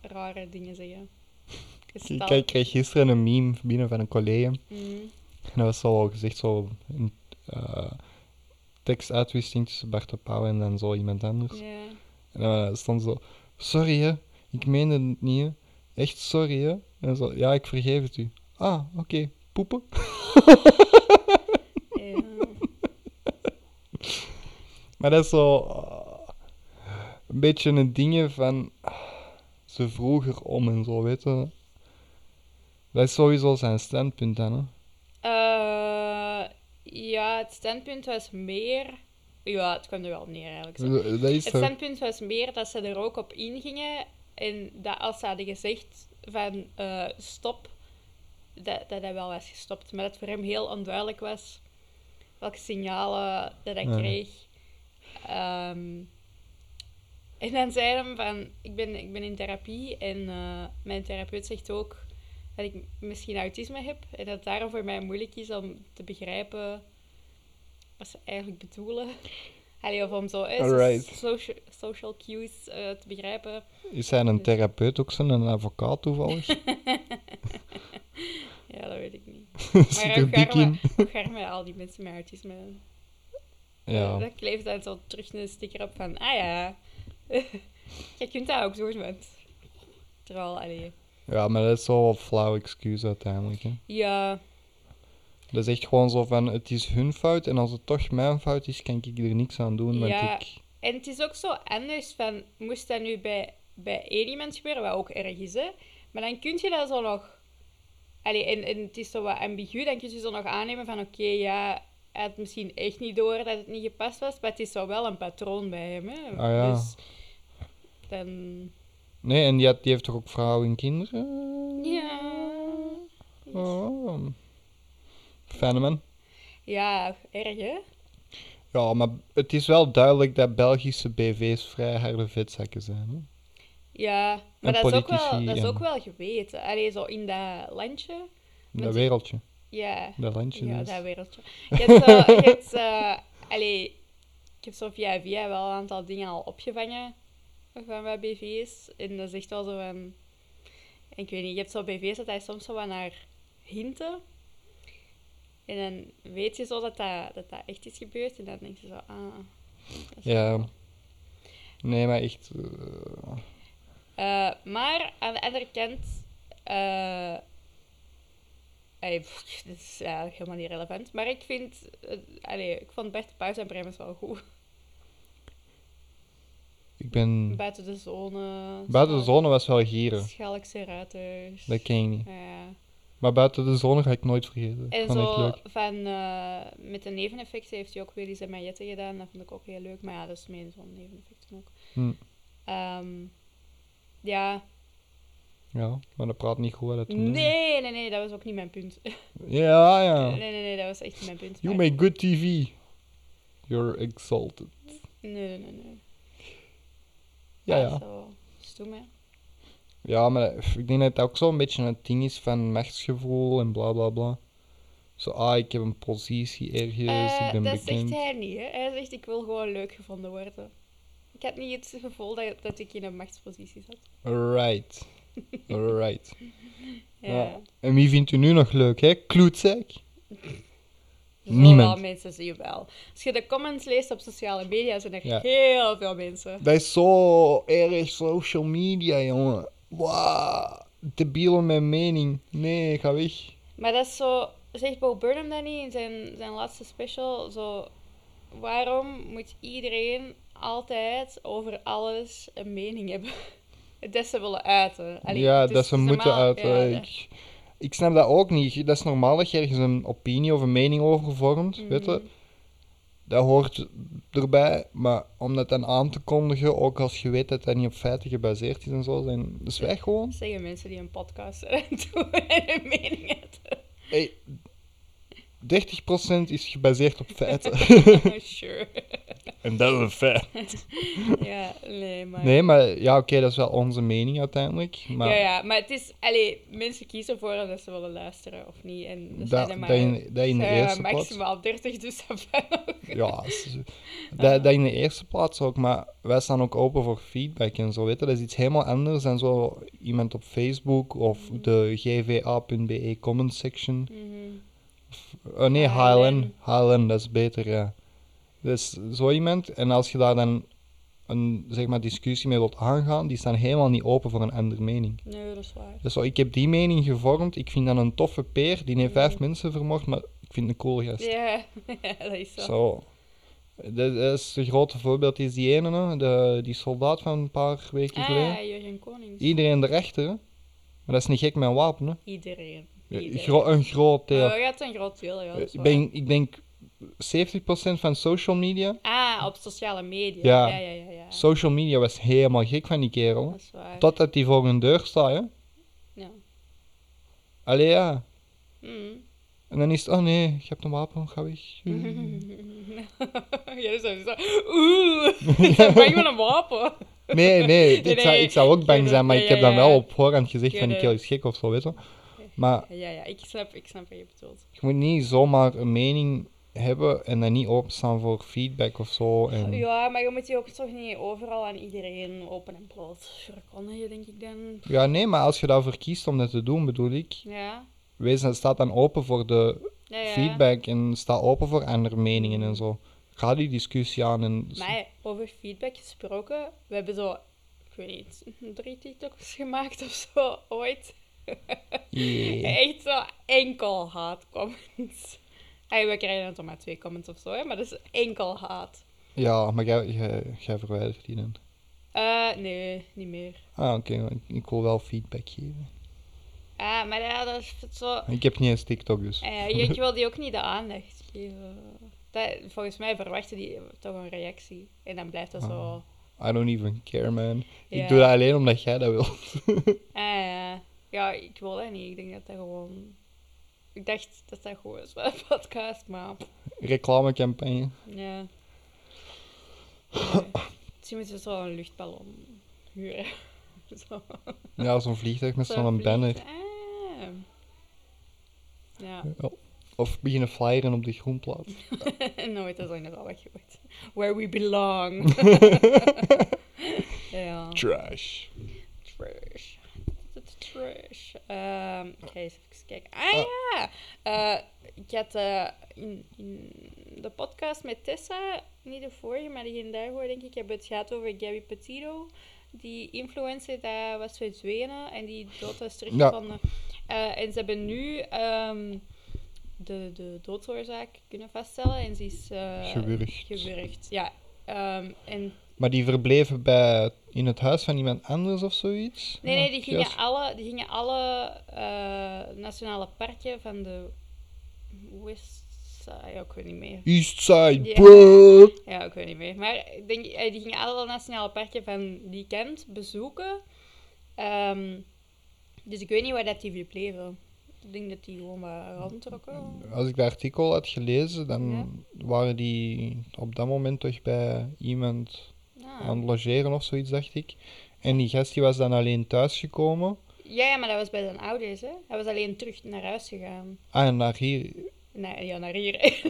S2: rare dingen zeggen.
S3: Ik,
S2: Gestalte.
S3: ik kreeg gisteren een meme binnen van een collega.
S2: Mm.
S3: En dat was al gezegd, zo een eh, tekstuitwisseling tussen Bart de Pauw en dan zo iemand anders.
S2: Ja.
S3: En dan eh, stond zo, sorry hè, ik meende het niet hè. Echt sorry hè. En dan zo, ja, ik vergeef het u. Ah, oké, poepen.
S2: Ja.
S3: Maar dat is zo ah, een beetje een ding van ah, ze vroeger om en zo, weet je. Dat is sowieso zijn standpunt dan, hè.
S2: Eh, ja, het standpunt was meer. Ja, het kwam er wel op neer eigenlijk. Zo.
S3: Dat dat is
S2: Het
S3: zo.
S2: standpunt was meer dat ze er ook op ingingen. En dat als ze hadden gezegd van eh, stop, dat, dat hij wel was gestopt. Maar dat het voor hem heel onduidelijk was welke signalen dat hij
S3: Ja.
S2: kreeg. Ehm, en dan zei hij hem van, ik ben, ik ben in therapie en eh, mijn therapeut zegt ook dat ik misschien autisme heb. En dat het daarom voor mij moeilijk is om te begrijpen wat ze eigenlijk bedoelen. Allee, of om zo eh, so-
S3: Alright.
S2: social, social cues eh, te begrijpen.
S3: Is hij een therapeut ook zo'n een advocaat toevallig?
S2: Ja, dat weet ik niet.
S3: Zit
S2: Maar
S3: er
S2: ook
S3: dik
S2: gaar
S3: in.
S2: met- ook gaar met al die mensen met autisme.
S3: Ja.
S2: Dat kleeft dan zo terug een sticker op van, ah ja, je kunt dat ook doen, want... Terwijl, allee...
S3: Ja, maar dat is wel een flauw excuus uiteindelijk. Hè.
S2: Ja,
S3: Dat is echt gewoon zo van, het is hun fout en als het toch mijn fout is, kan ik er niks aan doen, want
S2: Ja.
S3: ik...
S2: en het is ook zo anders van, moest dat nu bij bij aliens gebeuren, wat ook erg is, hè. Maar dan kun je dat zo nog... Allee, en, en het is zo wat ambigu, dan kun je zo nog aannemen van... Oké, ja, hij had misschien echt niet door dat het niet gepast was, maar het is zo wel een patroon bij hem, hè.
S3: Ah, ja.
S2: Dus dan...
S3: Nee, en die, had, die heeft toch ook vrouwen en kinderen?
S2: Ja...
S3: Oh. Fijne man.
S2: Ja, erg, hè.
S3: Ja, maar het is wel duidelijk dat Belgische BV's vrij harde vetzakken zijn. Hè?
S2: Ja, maar
S3: En
S2: dat is, ook wel,
S3: politici
S2: dat is
S3: en-
S2: ook wel geweten. Allee, zo in dat landje.
S3: In
S2: Want-
S3: dat wereldje.
S2: Ja,
S3: Dat landje. dus.
S2: ja
S3: Ja,
S2: dat wereldje. Je hebt zo... Je hebt, eh, allee, ik heb zo via via wel een aantal dingen al opgevangen van mijn BV's. En dat is echt wel zo van... Ik weet niet, je hebt zo BV's dat hij soms zo wat naar hinten. En dan weet je zo dat dat, dat, dat echt is gebeurd. En dan denk je zo, ah... dat is wel-
S3: ja. Nee, maar echt. eh,
S2: Eh, maar aan de andere kant. eh, ey, pff, dit is eigenlijk helemaal niet relevant. Maar ik vind. eh, allee, ik vond Bert de Pauw en Bremen wel goed.
S3: ik ben.
S2: Buiten de zone.
S3: Mm. Buiten de
S2: Schal-
S3: zone was wel gieren.
S2: Schalkse ruiters.
S3: Dat ken ik niet.
S2: Ja.
S3: Maar buiten de zone ga ik nooit vergeten.
S2: En
S3: Vond ik
S2: zo
S3: leuk.
S2: van, eh, met de neveneffecten heeft hij ook Willy's en Majetten gedaan. Dat vond ik ook heel leuk. Maar ja, dat is meer zo'n neveneffecten ook.
S3: Hm.
S2: Ehm, ja.
S3: Ja, maar dat praat niet goed. hè, Dat doen we niet.
S2: Nee, nee, nee. Dat was ook niet mijn punt.
S3: Ja,
S2: Nee,
S3: ja.
S2: nee, nee. Dat was echt niet mijn punt.
S3: Oh. You
S2: maar-
S3: make good TV. You're exalted.
S2: Nee, nee, nee. nee.
S3: Ja,
S2: Maar
S3: ja.
S2: Zo, stoem, hè.
S3: Ja, maar dat- ik denk dat het ook zo'n beetje een ding is van machtsgevoel en bla bla bla. Zo, ah, ik heb een positie ergens,
S2: Eh,
S3: ik ben
S2: dat
S3: bekend.
S2: zegt hij niet, hè. Hij zegt, ik wil gewoon leuk gevonden worden. Ik had niet het gevoel dat, dat ik in een machtspositie zat.
S3: Right. Right.
S2: Ja.
S3: Ja.
S2: Er
S3: en wie vindt u nu nog leuk, hè? Kloetzak?
S2: zullen
S3: Niemand.
S2: wel mensen zie je wel. Als je de comments leest op sociale media, zijn er
S3: Ja.
S2: heel veel mensen.
S3: Dat is zo erg social media, jongen. Wow. Debiel om mijn mening. Nee, ga weg.
S2: Maar dat is zo... Zegt Bo Burnham dat niet in zijn, zijn laatste special? Zo... Waarom moet iedereen altijd over alles een mening hebben? Dat ze willen uiten. Allee,
S3: ja,
S2: het is-
S3: dat ze
S2: het is
S3: moeten
S2: normaal-
S3: uit.
S2: ja,
S3: eh,
S2: dat-
S3: ik, ik snap dat ook niet. Dat is normaal dat je ergens een opinie of een mening over vormt,
S2: Mhm.
S3: weet je. Dat hoort erbij, maar om dat dan aan te kondigen, ook als je weet dat dat niet op feiten gebaseerd is en zo, dan zwijg gewoon.
S2: Dat zeggen mensen die een podcast doen en hun mening hebben.
S3: Hey, 30% is gebaseerd op feiten.
S2: sure.
S3: en dat is een feit.
S2: Ja, nee, maar...
S3: Nee, maar ja, oké, dat is wel onze mening uiteindelijk. Maar
S2: Ja, ja, maar het is... Allee, mensen kiezen ervoor of ze willen luisteren of niet. En
S3: Dat-
S2: dat, zijn er maar,
S3: dat in- dat in
S2: zijn er
S3: de
S2: maar
S3: eerste plaats.
S2: maximaal 30, dus dat kan ook.
S3: Ja, s- dat, dat in de eerste plaats ook, maar wij staan ook open voor feedback en zo, weet je. Dat is iets helemaal anders dan zo iemand op Facebook of de gva.be comment section.
S2: Mhm.
S3: Oh nee,
S2: HLN.
S3: HLN. HLN, dat is beter, ja. Dus zo iemand, en als je daar dan een zeg maar, discussie mee wilt aangaan, die staan helemaal niet open voor een andere mening.
S2: Nee, dat is waar.
S3: Dus zo, ik heb die mening gevormd, ik vind dan een toffe peer, die heeft vijf mensen vermoord, maar ik vind het een coole gast.
S2: Ja, ja, dat is zo.
S3: Zo. Dat is een grote voorbeeld is die ene, hè, de, die soldaat van een paar weken
S2: Ah,
S3: geleden.
S2: Jurgen Konings.
S3: Iedereen erachter, hè. Maar dat is niet gek met een wapen, hè.
S2: Iedereen.
S3: Een
S2: Iedereen.
S3: gro- een groot deel.
S2: Oh, ja, het is een groot deel, ja. dat is
S3: ik,
S2: waar.
S3: Eh, ben, ik denk 70% van social media.
S2: Ah, op sociale media.
S3: Ja.
S2: Ja, ja, ja. ja.
S3: Social media was helemaal gek van die kerel.
S2: Dat
S3: hè.
S2: is waar.
S3: Totdat die voor hun deur staat, hè.
S2: Ja.
S3: Allee, ja.
S2: Mhm.
S3: En dan is het, oh nee, je hebt een wapen, ga weg.
S2: ja, dat is zo. Oeh, ik ben bang van een wapen.
S3: Nee, nee, ik, Zou,
S2: nee,
S3: ik zou ook bang
S2: geen
S3: zijn, maar
S2: idee,
S3: ik heb
S2: ja,
S3: dan wel
S2: ja.
S3: op voorhand gezegd
S2: Geen
S3: van die
S2: idee.
S3: kerel is gek of zo, weet je. Maar
S2: Ja, ja, ik snap, ik snap wat je bedoelt.
S3: Je moet niet zomaar een mening hebben en dan niet openstaan voor feedback of zo. En... Ja.
S2: Ja, maar je moet je ook toch niet overal aan iedereen open en bloot verkondigen, denk ik dan.
S3: nee, maar als je daarvoor kiest om dat te doen, bedoel ik,
S2: Ja,
S3: wees dan, sta dan open voor de
S2: ja, ja.
S3: feedback en sta open voor andere meningen en zo. Ga die discussie aan en...
S2: Maar over feedback gesproken, we hebben zo, ik weet niet, drie TikToks gemaakt of zo ooit.
S3: Yeah.
S2: Echt zo enkel haatcomments. Hey, we krijgen dan toch maar twee comments of zo, hè, maar dat is enkel haat.
S3: Ja, maar jij, jij, jij verwijdert die dan.
S2: Eh, nee, niet meer.
S3: Ah, oké, want ik wil wel feedback geven.
S2: Ah, maar ja, dat is het zo...
S3: Ik heb niet eens TikTok, dus.
S2: Eh, je, je wil die ook niet de aandacht geven. Dat, volgens mij verwachten die toch een reactie. En dan blijft dat zo...
S3: I don't even care, man.
S2: Ja.
S3: Ah. Ik doe dat alleen omdat jij dat wilt.
S2: Ah, ja. ja, ik wil dat niet. Ik denk dat dat gewoon... Ik dacht dat dat gewoon is bij een podcast, maar...
S3: Reclamecampagne.
S2: Ja. Nee. Misschien moeten we zo een luchtballon huren. zo.
S3: Ja, zo'n vliegtuig met
S2: Zo
S3: zo'n banner.
S2: vliegt- Ah. Ja,
S3: Ja. Of beginnen flyeren op de groenplaats.
S2: nooit, dat is inderdaad wat je hoort. Where we belong. ja.
S3: Trash.
S2: Trash. Dat is Trash. Ehm, ik ga eens even kijken. Ah ja! Eh, ik had eh, in, in de podcast met Tessa, niet de vorige, maar die in daarvoor denk ik, hebben we het gehad over Gabby Petito. Die influencer, dat was uit Zweden en die dood is teruggevonden. Eh, en ze hebben nu ehm, de, de doodsoorzaak kunnen vaststellen en ze is eh,
S3: Gewurgd.
S2: gewurgd, ja. Ehm, en
S3: Maar die verbleven bij, in het huis van iemand anders of zoiets?
S2: Nee, nee, die gingen
S3: Juist.
S2: alle, die gingen alle eh, nationale parken van de Westside, ja, ik weet niet meer.
S3: Eastside,
S2: Ja.
S3: bro!
S2: Ja, ik weet niet meer. Maar ik denk, eh, die gingen alle nationale parken van die kent bezoeken. Ehm, dus ik weet niet waar dat die verbleven. Ik denk dat die gewoon maar rondtrokken.
S3: Als ik dat artikel had gelezen, dan waren die op dat moment toch bij iemand aan
S2: Ah.
S3: het logeren of zoiets, dacht ik. En die gast die was dan alleen thuisgekomen.
S2: Ja, ja, maar dat was bij zijn ouders, hè. Hij was alleen terug naar huis gegaan.
S3: Ah, en naar hier...
S2: Naar, ja, naar hier.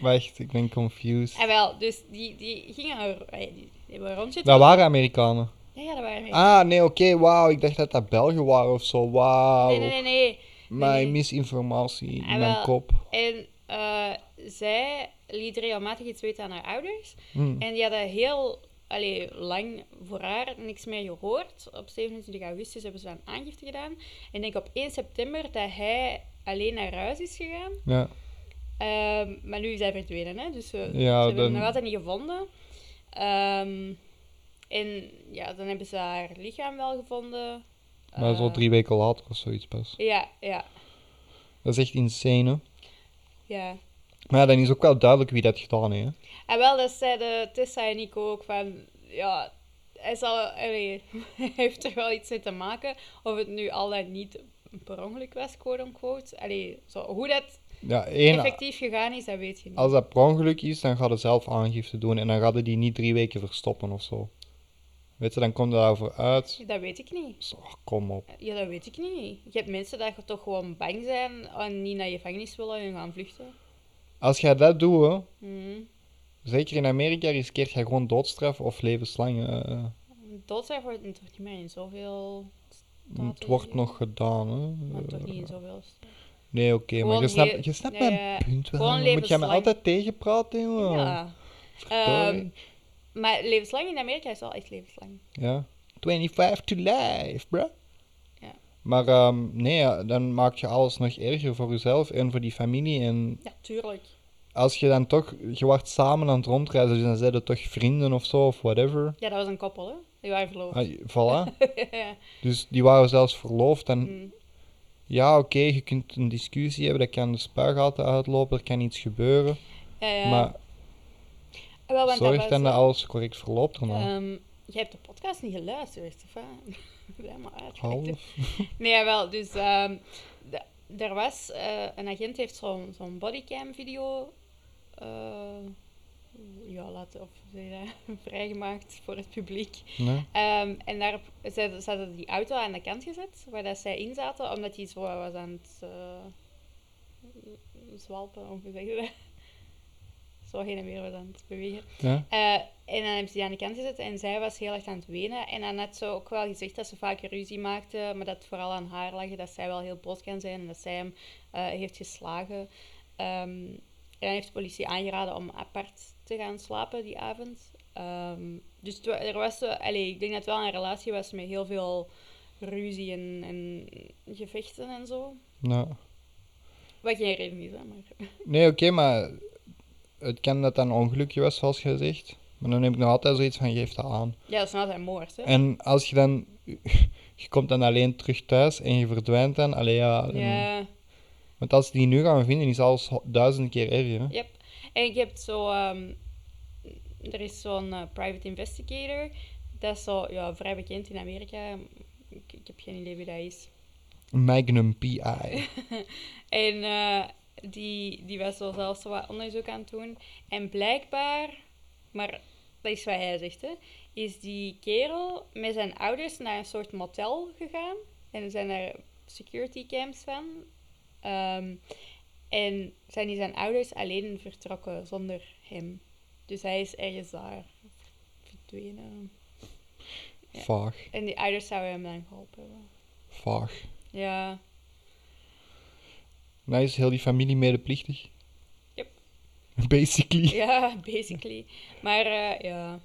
S3: Wacht, ik ben confused.
S2: en wel, dus die, die gingen... er- eh, Die, die hebben rondzitten.
S3: Dat waren Amerikanen.
S2: Ja, ja, dat waren mensen.
S3: Ah, nee, oké, wauw. Ik dacht dat dat Belgen waren of zo. Wauw.
S2: Nee, nee, nee, nee.
S3: Mijn
S2: nee.
S3: misinformatie in
S2: Ah,
S3: mijn
S2: wel.
S3: kop.
S2: En eh, zij liet regelmatig iets weten aan haar ouders.
S3: Hm.
S2: En die hadden heel allee, lang voor haar niks meer gehoord. Op 27 augustus hebben ze dan aangifte gedaan. En ik denk op 1 september dat hij alleen naar huis is gegaan.
S3: Ja.
S2: Ehm, maar nu is hij verdwenen, hè? dus eh,
S3: Ja,
S2: ze hebben hem
S3: dan-
S2: nog altijd niet gevonden. Ehm, en ja, dan hebben ze haar lichaam wel gevonden.
S3: Maar zo
S2: Eh,
S3: drie weken later of zoiets pas.
S2: Ja, ja,
S3: Dat is echt insane, hè.
S2: ja.
S3: Maar ja, dan is ook wel duidelijk wie dat gedaan heeft. hè.
S2: En wel, dat zeiden Tessa en ik ook van, ja, hij, zal, allee, hij heeft er wel iets mee te maken. Of het nu al dan niet per ongeluk was, quote-unquote. Allee, zo, hoe dat
S3: Ja, één,
S2: effectief gegaan is, dat weet je niet.
S3: als dat per ongeluk is, dan gaat ze zelf aangifte doen. En dan gaat ze die niet drie weken verstoppen of zo. Weet je, dan komt er daarvoor uit.
S2: Dat weet ik niet.
S3: Zo, kom op.
S2: Ja, dat weet ik niet. Je hebt mensen die toch gewoon bang zijn en niet naar je gevangenis willen en gaan vluchten.
S3: Als jij dat doet, hè,
S2: Hmm.
S3: zeker in Amerika, riskeert jij gewoon doodstraf of levenslang. eh, hè.
S2: Doodstraf wordt toch niet meer in zoveel...
S3: het wordt nog gedaan, hè.
S2: Maar toch niet in zoveel...
S3: Nee, oké, maar je
S2: Gewoon
S3: snapt,
S2: le-
S3: je snapt
S2: ja,
S3: mijn
S2: ja.
S3: punt wel.
S2: Gewoon
S3: jongen. Moet jij me
S2: levenslang.
S3: altijd tegenpraten, jongen?
S2: Ja.
S3: Verdorie.
S2: Ehm, maar levenslang in Amerika is wel echt levenslang.
S3: Ja. 25 to life, bruh.
S2: Ja.
S3: Maar ehm, nee, ja, dan maak je alles nog erger voor jezelf en voor die familie. En
S2: Ja, tuurlijk.
S3: als je dan toch, je wordt samen aan het rondreizen, dus dan zijn het toch vrienden of zo of whatever.
S2: Ja, dat was een koppel, hè? Die waren verloofd.
S3: Ah, voilà. dus die waren zelfs verloofd. En
S2: Mm.
S3: ja, oké, je kunt een discussie hebben, dat kan de spuigaten uitlopen, er kan iets gebeuren.
S2: Ja, ja.
S3: Maar
S2: Ah, Ehm, wel, want dat
S3: zorg
S2: was
S3: dan dat
S2: wel-
S3: alles correct verloopt. erna.
S2: Ehm, je hebt de podcast niet geluisterd, of wat? Helemaal uit.
S3: Half.
S2: Nee, wel, dus... ehm, d- er was... eh, een agent heeft zo'n zo'n bodycam-video... eh, ja, laten of hoe zeg je dat? vrijgemaakt voor het publiek.
S3: Nee?
S2: Ehm, en daarop ze, ze hadden die auto aan de kant gezet, waar dat zij in zaten, omdat die zo was aan het eh, zwalpen, of hoe zeg je dat? Zo heen en weer was aan het bewegen.
S3: Ja?
S2: Eh, en dan hebben ze die aan de kant gezet en zij was heel erg aan het wenen. En dan had ze ook wel gezegd dat ze vaak ruzie maakte, maar dat het vooral aan haar lag, dat zij wel heel boos kan zijn en dat zij hem eh, heeft geslagen. Ehm, en dan heeft de politie aangeraden om apart te gaan slapen die avond. Ehm, dus het wa- er was, eh, allee, ik denk dat het wel een relatie was met heel veel ruzie en, en gevechten en zo.
S3: Nee.
S2: Wat geen reden is, hè, maar...
S3: Nee, oké, maar het kan dat dat een ongelukje was, zoals je zegt. Maar dan heb ik nog altijd zoiets van, geef dat aan.
S2: Ja, dat is altijd moord, hè?
S3: En als je dan... Je komt dan alleen terug thuis en je verdwijnt dan. Allee, ja. dan-
S2: Ja,
S3: Want als ze die nu gaan vinden, is alles ho- duizend keer erger. Hè?
S2: yep. En ik heb zo... ehm, er is zo'n eh, private investigator. Dat is zo ja, vrij bekend in Amerika. Ik, ik heb geen idee wie dat is.
S3: Magnum PI.
S2: En eh, die, die was zo zelfs zo wat onderzoek aan het doen. En blijkbaar, maar dat is wat hij zegt, hè, is die kerel met zijn ouders naar een soort motel gegaan. En er zijn er security camps van. Ehm, en zijn die zijn ouders alleen vertrokken zonder hem. Dus hij is ergens daar verdwenen. Ja.
S3: Vaag.
S2: En die ouders zouden hem dan geholpen hebben.
S3: Vaag.
S2: Ja,
S3: Nou is heel die familie medeplichtig.
S2: Yep.
S3: Basically.
S2: Ja, basically. Maar eh, ja,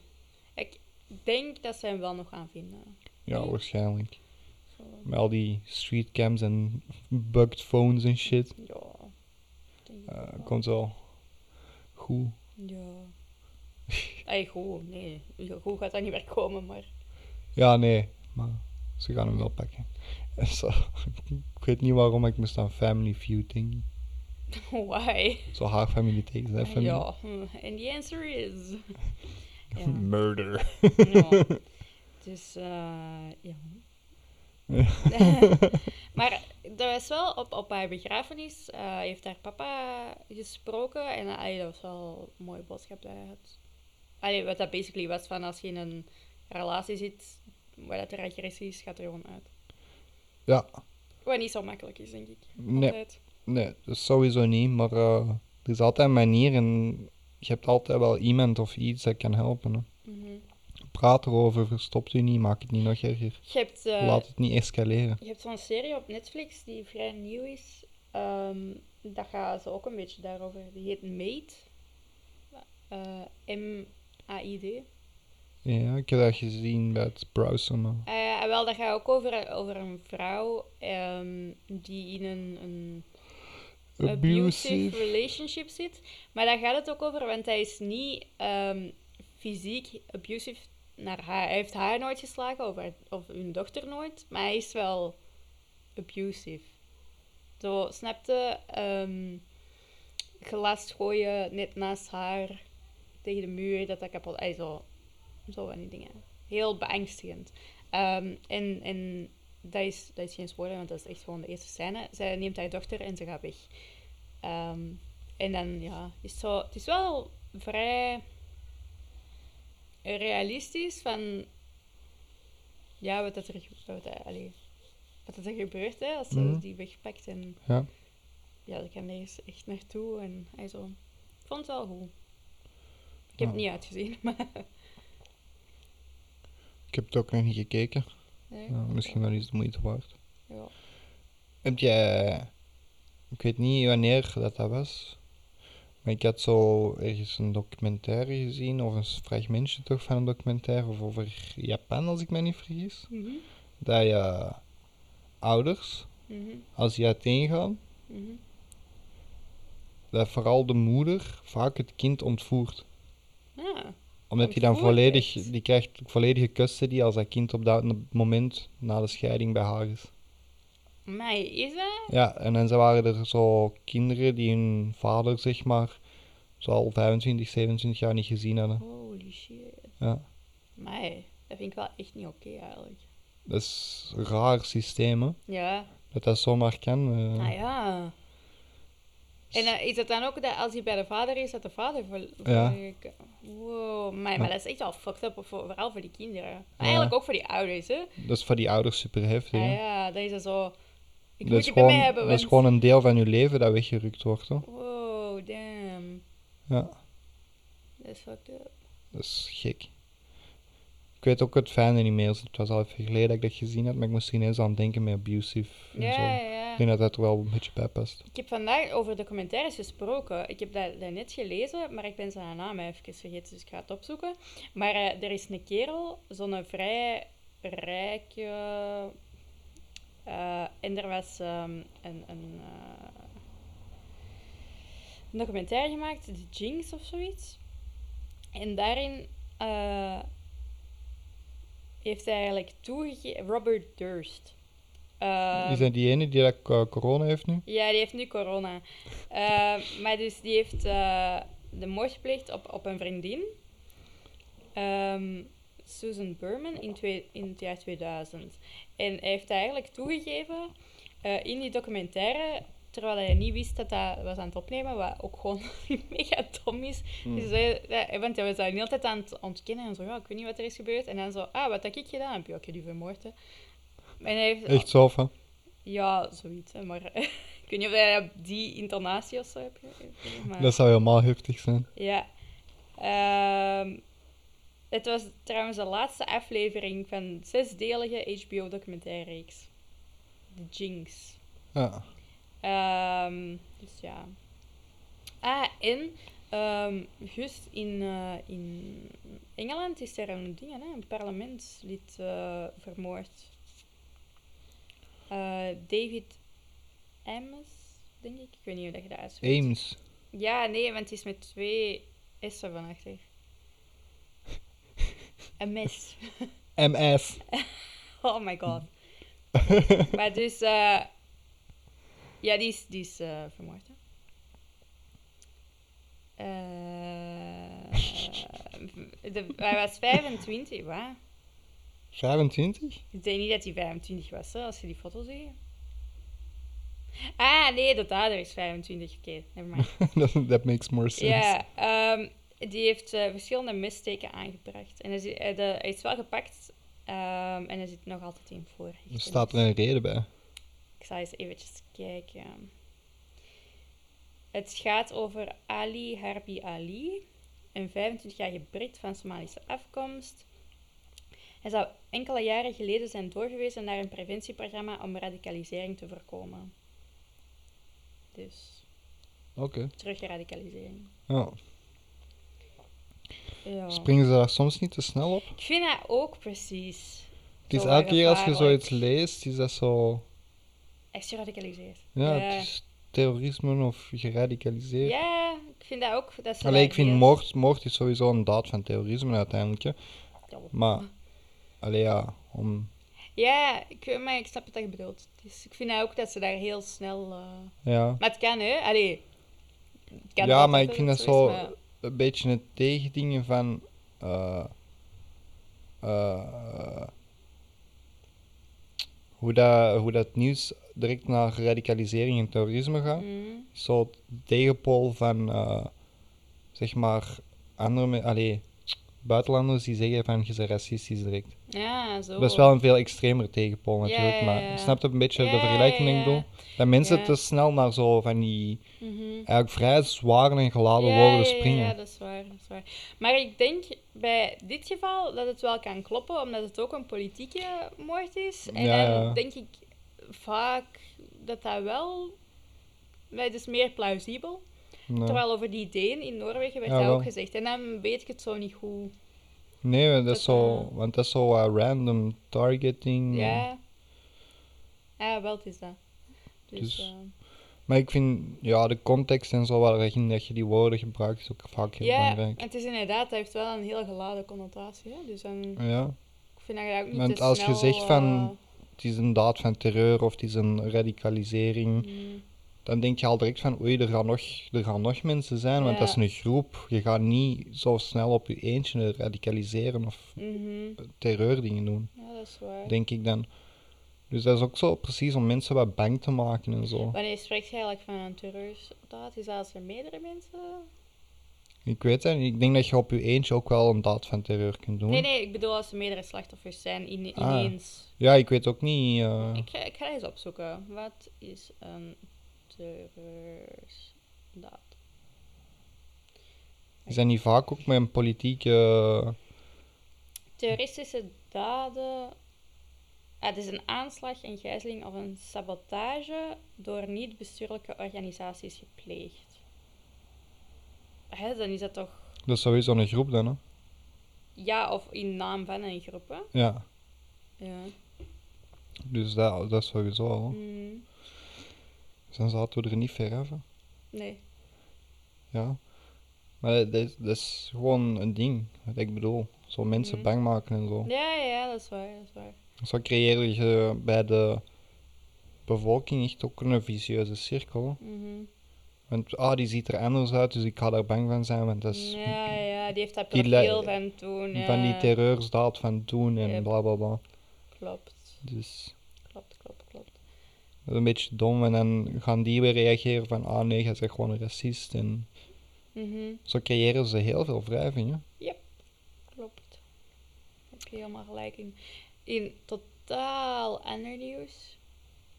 S2: ik denk dat ze hem wel nog gaan vinden.
S3: Ja, waarschijnlijk.
S2: Zo.
S3: Met al die streetcams en bugged phones en shit.
S2: Ja. denk ik
S3: Eh,
S2: wel.
S3: komt wel goed.
S2: Ja. Ey, goed, nee. Ja, Goed gaat dat niet meer komen, maar...
S3: Ja, nee. Maar ze gaan hem wel pakken. En zo, ik weet niet waarom ik moest aan Family Feud denken.
S2: Why?
S3: Zo haar familie tegen zijn familie.
S2: Ja. hm, And the answer is... Ja.
S3: Murder.
S2: ja. Dus, eh, ja. maar dat was wel op, op haar begrafenis. eh, heeft haar papa gesproken. En eh, allee, dat was wel een mooie boodschap dat hij had. Allee, wat dat basically was van als je in een relatie zit waar dat er agressie is, gaat er gewoon uit.
S3: Ja,
S2: Wat niet zo makkelijk is, denk ik.
S3: nee.
S2: Altijd.
S3: Nee, dus sowieso niet, maar eh, er is altijd een manier en je hebt altijd wel iemand of iets dat kan helpen. Hè.
S2: Mhm.
S3: Praat erover, verstopt u niet, maak het niet nog erger.
S2: Je hebt, eh,
S3: Laat het niet escaleren.
S2: je hebt zo'n serie op Netflix die vrij nieuw is. Ehm, dat gaat ze ook een beetje daarover. Die heet Mate. Eh, M-A-I-D.
S3: Ja, ik heb dat gezien bij het browsen. maar-
S2: Eh, wel, dat gaat ook over, over een vrouw ehm, die in een, een abusive relationship zit. Maar daar gaat het ook over, want hij is niet ehm, fysiek abusive naar haar. Hij heeft haar nooit geslagen of, haar- of hun dochter nooit, maar hij is wel abusive. Zo, snapte, ehm gelast gooien net naast haar tegen de muur, dat dat kapot... Hij zo, zo van die dingen. Heel beangstigend. Ehm, en en dat, is, dat is geen spoiler, want dat is echt gewoon de eerste scène. Zij neemt haar dochter en ze gaat weg. Ehm, en dan, ja, is zo, het is wel vrij realistisch van ja, wat, dat er, ge- wat, dat- allee, wat dat er gebeurt hè, als ze
S3: Mhm.
S2: die wegpakt. En
S3: Ja.
S2: ja, ik kan ergens echt naartoe. En hij zo, ik vond het wel goed. Ik heb
S3: Ja.
S2: het niet uitgezien, maar...
S3: Ik heb het ook nog niet gekeken.
S2: Nee,
S3: Ja, misschien wel eens de moeite waard.
S2: Ja.
S3: Heb jij... Ik weet niet wanneer dat dat was. Maar ik had zo ergens een documentaire gezien, of een fragmentje toch van een documentaire, of over Japan, als ik me niet vergis.
S2: Mhm,
S3: dat je ouders,
S2: mhm,
S3: als die uiteengaan,
S2: mhm.
S3: dat vooral de moeder vaak het kind ontvoert.
S2: Ja,
S3: Omdat die dan
S2: Ontvoert
S3: volledig,
S2: echt?
S3: die krijgt volledige custody als dat kind op dat moment na de scheiding bij haar is.
S2: mij is dat?
S3: Ja, en dan zo waren er zo kinderen die hun vader, zeg maar, zo al 25, 27 jaar niet gezien hadden.
S2: Holy shit.
S3: Ja.
S2: Mij, dat vind ik wel echt niet oké eigenlijk.
S3: Dat is een raar systeem, hè.
S2: Ja,
S3: Dat dat zomaar kan. eh.
S2: nou ja. En eh, is het dan ook dat als hij bij de vader is, dat de vader voor... voor-
S3: Ja.
S2: Wow, mij, maar dat is echt al fucked up, voor, vooral voor die kinderen. Maar
S3: Ja.
S2: Eigenlijk ook voor die ouders, hè.
S3: Dat is voor die ouders super heftig,
S2: Ah
S3: hè.
S2: ja, dat is dan zo... Ik
S3: dat,
S2: moet
S3: is
S2: je bij mij
S3: gewoon,
S2: hebben,
S3: dat is
S2: want...
S3: gewoon een deel van je leven dat weggerukt wordt, hoor.
S2: Wow, damn.
S3: Ja.
S2: Dat is fucked up.
S3: Dat is gek. Ik weet ook het fijne niet meer. Het was al even geleden dat ik dat gezien had, maar ik moest er ineens aan denken met abusive en zo.
S2: Ja,
S3: Ik
S2: ja.
S3: denk dat dat er wel een beetje bij past.
S2: Ik heb vandaag over documentaires gesproken. Ik heb dat, dat net gelezen, maar ik ben zijn naam even vergeten, dus ik ga het opzoeken. Maar eh, er is een kerel, zo'n vrij rijke... eh, en er was ehm, een, een, eh, een documentaire gemaakt, The Jinx of zoiets. En daarin eh, heeft hij eigenlijk toegegeven... Robert Durst. Eh,
S3: Is dat die ene die dat eh, corona heeft nu?
S2: Ja, die heeft nu corona. Eh, maar dus die heeft eh, de moord gepleegd op, op een vriendin. Ehm, Susan Berman in, twee, in het jaar 2000. En hij heeft dat eigenlijk toegegeven eh, in die documentaire, terwijl hij niet wist dat dat was aan het opnemen, wat ook gewoon mega dom is.
S3: Hmm.
S2: Dus hij, hij- want hij was daar de hele tijd aan het ontkennen en zo, ja, ik weet niet wat er is gebeurd. En dan zo, ah, wat heb ik gedaan? Heb je ook die vermoord, hè. En hij heeft,
S3: Echt zo van.
S2: ja, zoiets. Hè. Maar ik weet niet of hij op die intonatie of zo heb je. Maar,
S3: Dat zou helemaal heftig zijn.
S2: Ja. Ehm, het was trouwens de laatste aflevering van een zesdelige HBO-documentaireeks. The Jinx.
S3: Ja.
S2: Ehm, dus ja. Ah, en ehm juist in, eh, in Engeland is er een, ding, hè, een parlementslid eh, vermoord. Eh, David Ames, denk ik. Ik weet niet hoe dat je dat uitspreekt.
S3: Ames.
S2: Ja, nee, want het is met twee S'en van achter. Een mes.
S3: MS.
S2: Oh my god. maar dus, eh, ja, die is, die is eh, vermoord. Hè? Eh, de- hij was 25, waar?
S3: 25?
S2: Ik denk niet dat hij 25 was, hè, als je die foto ziet. Ah, nee, de dader is 25. Oké, nevermind.
S3: dat, that makes more sense.
S2: Ja, ehm, die heeft eh, verschillende misteken aangebracht. En hij, zit- hij- de- hij is wel gepakt ehm, en hij zit nog altijd in voor.
S3: Er staat er een reden bij.
S2: Ik zal eens eventjes kijken. Het gaat over Ali Harbi Ali, een 25-jarige Brit van Somalische afkomst. Hij zou enkele jaren geleden zijn doorgewezen naar een preventieprogramma om radicalisering te voorkomen. Dus
S3: Oké.
S2: terugradicalisering.
S3: Ja.
S2: Ja.
S3: Springen ze daar soms niet te snel op?
S2: Ik vind dat ook precies.
S3: Het is
S2: Zo
S3: elke keer als je
S2: gevaarlijk.
S3: zoiets leest, is dat zo...
S2: Echt geradicaliseerd.
S3: Ja,
S2: ja.
S3: het is terrorisme of geradicaliseerd.
S2: Ja, ik vind dat ook. Dat ze
S3: Allee,
S2: dat
S3: ik vind
S2: heel-
S3: moord, moord is sowieso een daad van terrorisme uiteindelijk. hè. Maar, allee ja, om...
S2: Ja, ik, weet- maar ik snap wat je bedoelt. Dus ik vind dat ook dat ze daar heel snel... eh,
S3: Ja.
S2: Maar het kan, hè? Allee. het kan
S3: Ja,
S2: altijd
S3: maar ik vind dat zo
S2: is, maar-
S3: een beetje het tegendingen van... eh, eh, hoe, dat, hoe dat nieuws direct naar radicalisering en terrorisme gaat.
S2: Mhm.
S3: Zo het tegenpool van, eh, zeg maar, andere... me- Allee, buitenlanders die zeggen van, je bent racistisch direct.
S2: Ja, zo.
S3: Dat is wel een veel extremer tegenpool
S2: Ja,
S3: natuurlijk,
S2: ja,
S3: maar
S2: ja.
S3: je snapt een beetje
S2: Ja,
S3: de
S2: ja,
S3: vergelijking
S2: ja.
S3: ik bedoel. Dat mensen
S2: Ja.
S3: te snel naar zo van die
S2: Mhm.
S3: eigenlijk vrij zware en geladen
S2: Ja,
S3: woorden
S2: ja, ja,
S3: springen.
S2: Ja, dat is waar, dat is waar. Maar ik denk bij dit geval dat het wel kan kloppen, omdat het ook een politieke moord is. En
S3: Ja,
S2: dan
S3: ja.
S2: denk ik vaak dat dat wel... Maar het is meer plausibel.
S3: Ja.
S2: Terwijl over die Deen in Noorwegen werd
S3: Ja,
S2: dat
S3: wel.
S2: ook gezegd. En dan weet ik het zo niet goed.
S3: Nee, dat is
S2: dat,
S3: zo, want dat is zo eh, random targeting. eh.
S2: Ja. Ja, wel, het is dat. Dus,
S3: Dus-
S2: eh,
S3: Maar ik vind, ja, de context en zo waarin dat je die woorden gebruikt is ook vaak heel
S2: ja,
S3: belangrijk.
S2: het is inderdaad, dat heeft wel een heel geladen connotatie. Hè? Dus dan,
S3: Ja,
S2: ik vind dat je daar ook niet
S3: Want
S2: te
S3: als je
S2: snel,
S3: zegt van-
S2: eh,
S3: het is een daad van terreur of het is een radicalisering.
S2: mm,
S3: dan denk je al direct van oei, er gaan nog, er gaan nog mensen zijn, want dat is
S2: Ja.
S3: een groep. Je gaat niet zo snel op je eentje radicaliseren of
S2: mhm.
S3: terreurdingen doen,
S2: Ja, dat is waar.
S3: denk ik dan. Dus dat is ook zo precies om mensen wat bang te maken en zo.
S2: Wanneer spreekt je eigenlijk van een terreurstaat? Is dat als er meerdere mensen...
S3: Ik weet het, niet. ik denk dat je op je eentje ook wel een daad van terreur kunt doen.
S2: Nee, nee, ik bedoel als er meerdere slachtoffers zijn in,
S3: Ah.
S2: ineens.
S3: Ja, ik weet ook niet. eh,
S2: Ik, ga, ik ga eens opzoeken. Wat is een terreurstaat?
S3: is dat niet vaak ook met een politieke. eh,
S2: Terroristische daden. Ah, het is een aanslag, een gijzeling of een sabotage door niet-bestuurlijke organisaties gepleegd. Hè, dan is dat toch
S3: dat is sowieso een groep dan, hè?
S2: ja of in naam van een groep, hè?
S3: Ja,
S2: Ja.
S3: dus dat, dat is sowieso al. hè.
S2: Mm,
S3: Dus dan zaten we er niet ver af. hè.
S2: nee.
S3: Ja. Maar dat dat is, dat is gewoon een ding, wat ik bedoel. Zo mensen
S2: Mhm.
S3: bang maken en zo.
S2: Ja, ja, dat is waar, dat is waar.
S3: Zo creëer je bij de bevolking echt ook een vicieuze cirkel.
S2: Mhm.
S3: Want, ah, die ziet er anders uit, dus ik ga daar bang van zijn, want dat is
S2: Ja, ja, die heeft dat
S3: die le-
S2: profiel van toen. Ja.
S3: van die terreursdaad van toen en
S2: Yep.
S3: bla bla bla.
S2: Klopt,
S3: Dus
S2: klopt, klopt, klopt.
S3: dat is een beetje dom. En dan gaan die weer reageren van, ah nee, jij bent gewoon een racist. En
S2: Mhm,
S3: zo creëren ze heel veel wrijving, hè.
S2: Klopt. Heb je helemaal gelijk in. In totaal ander nieuws.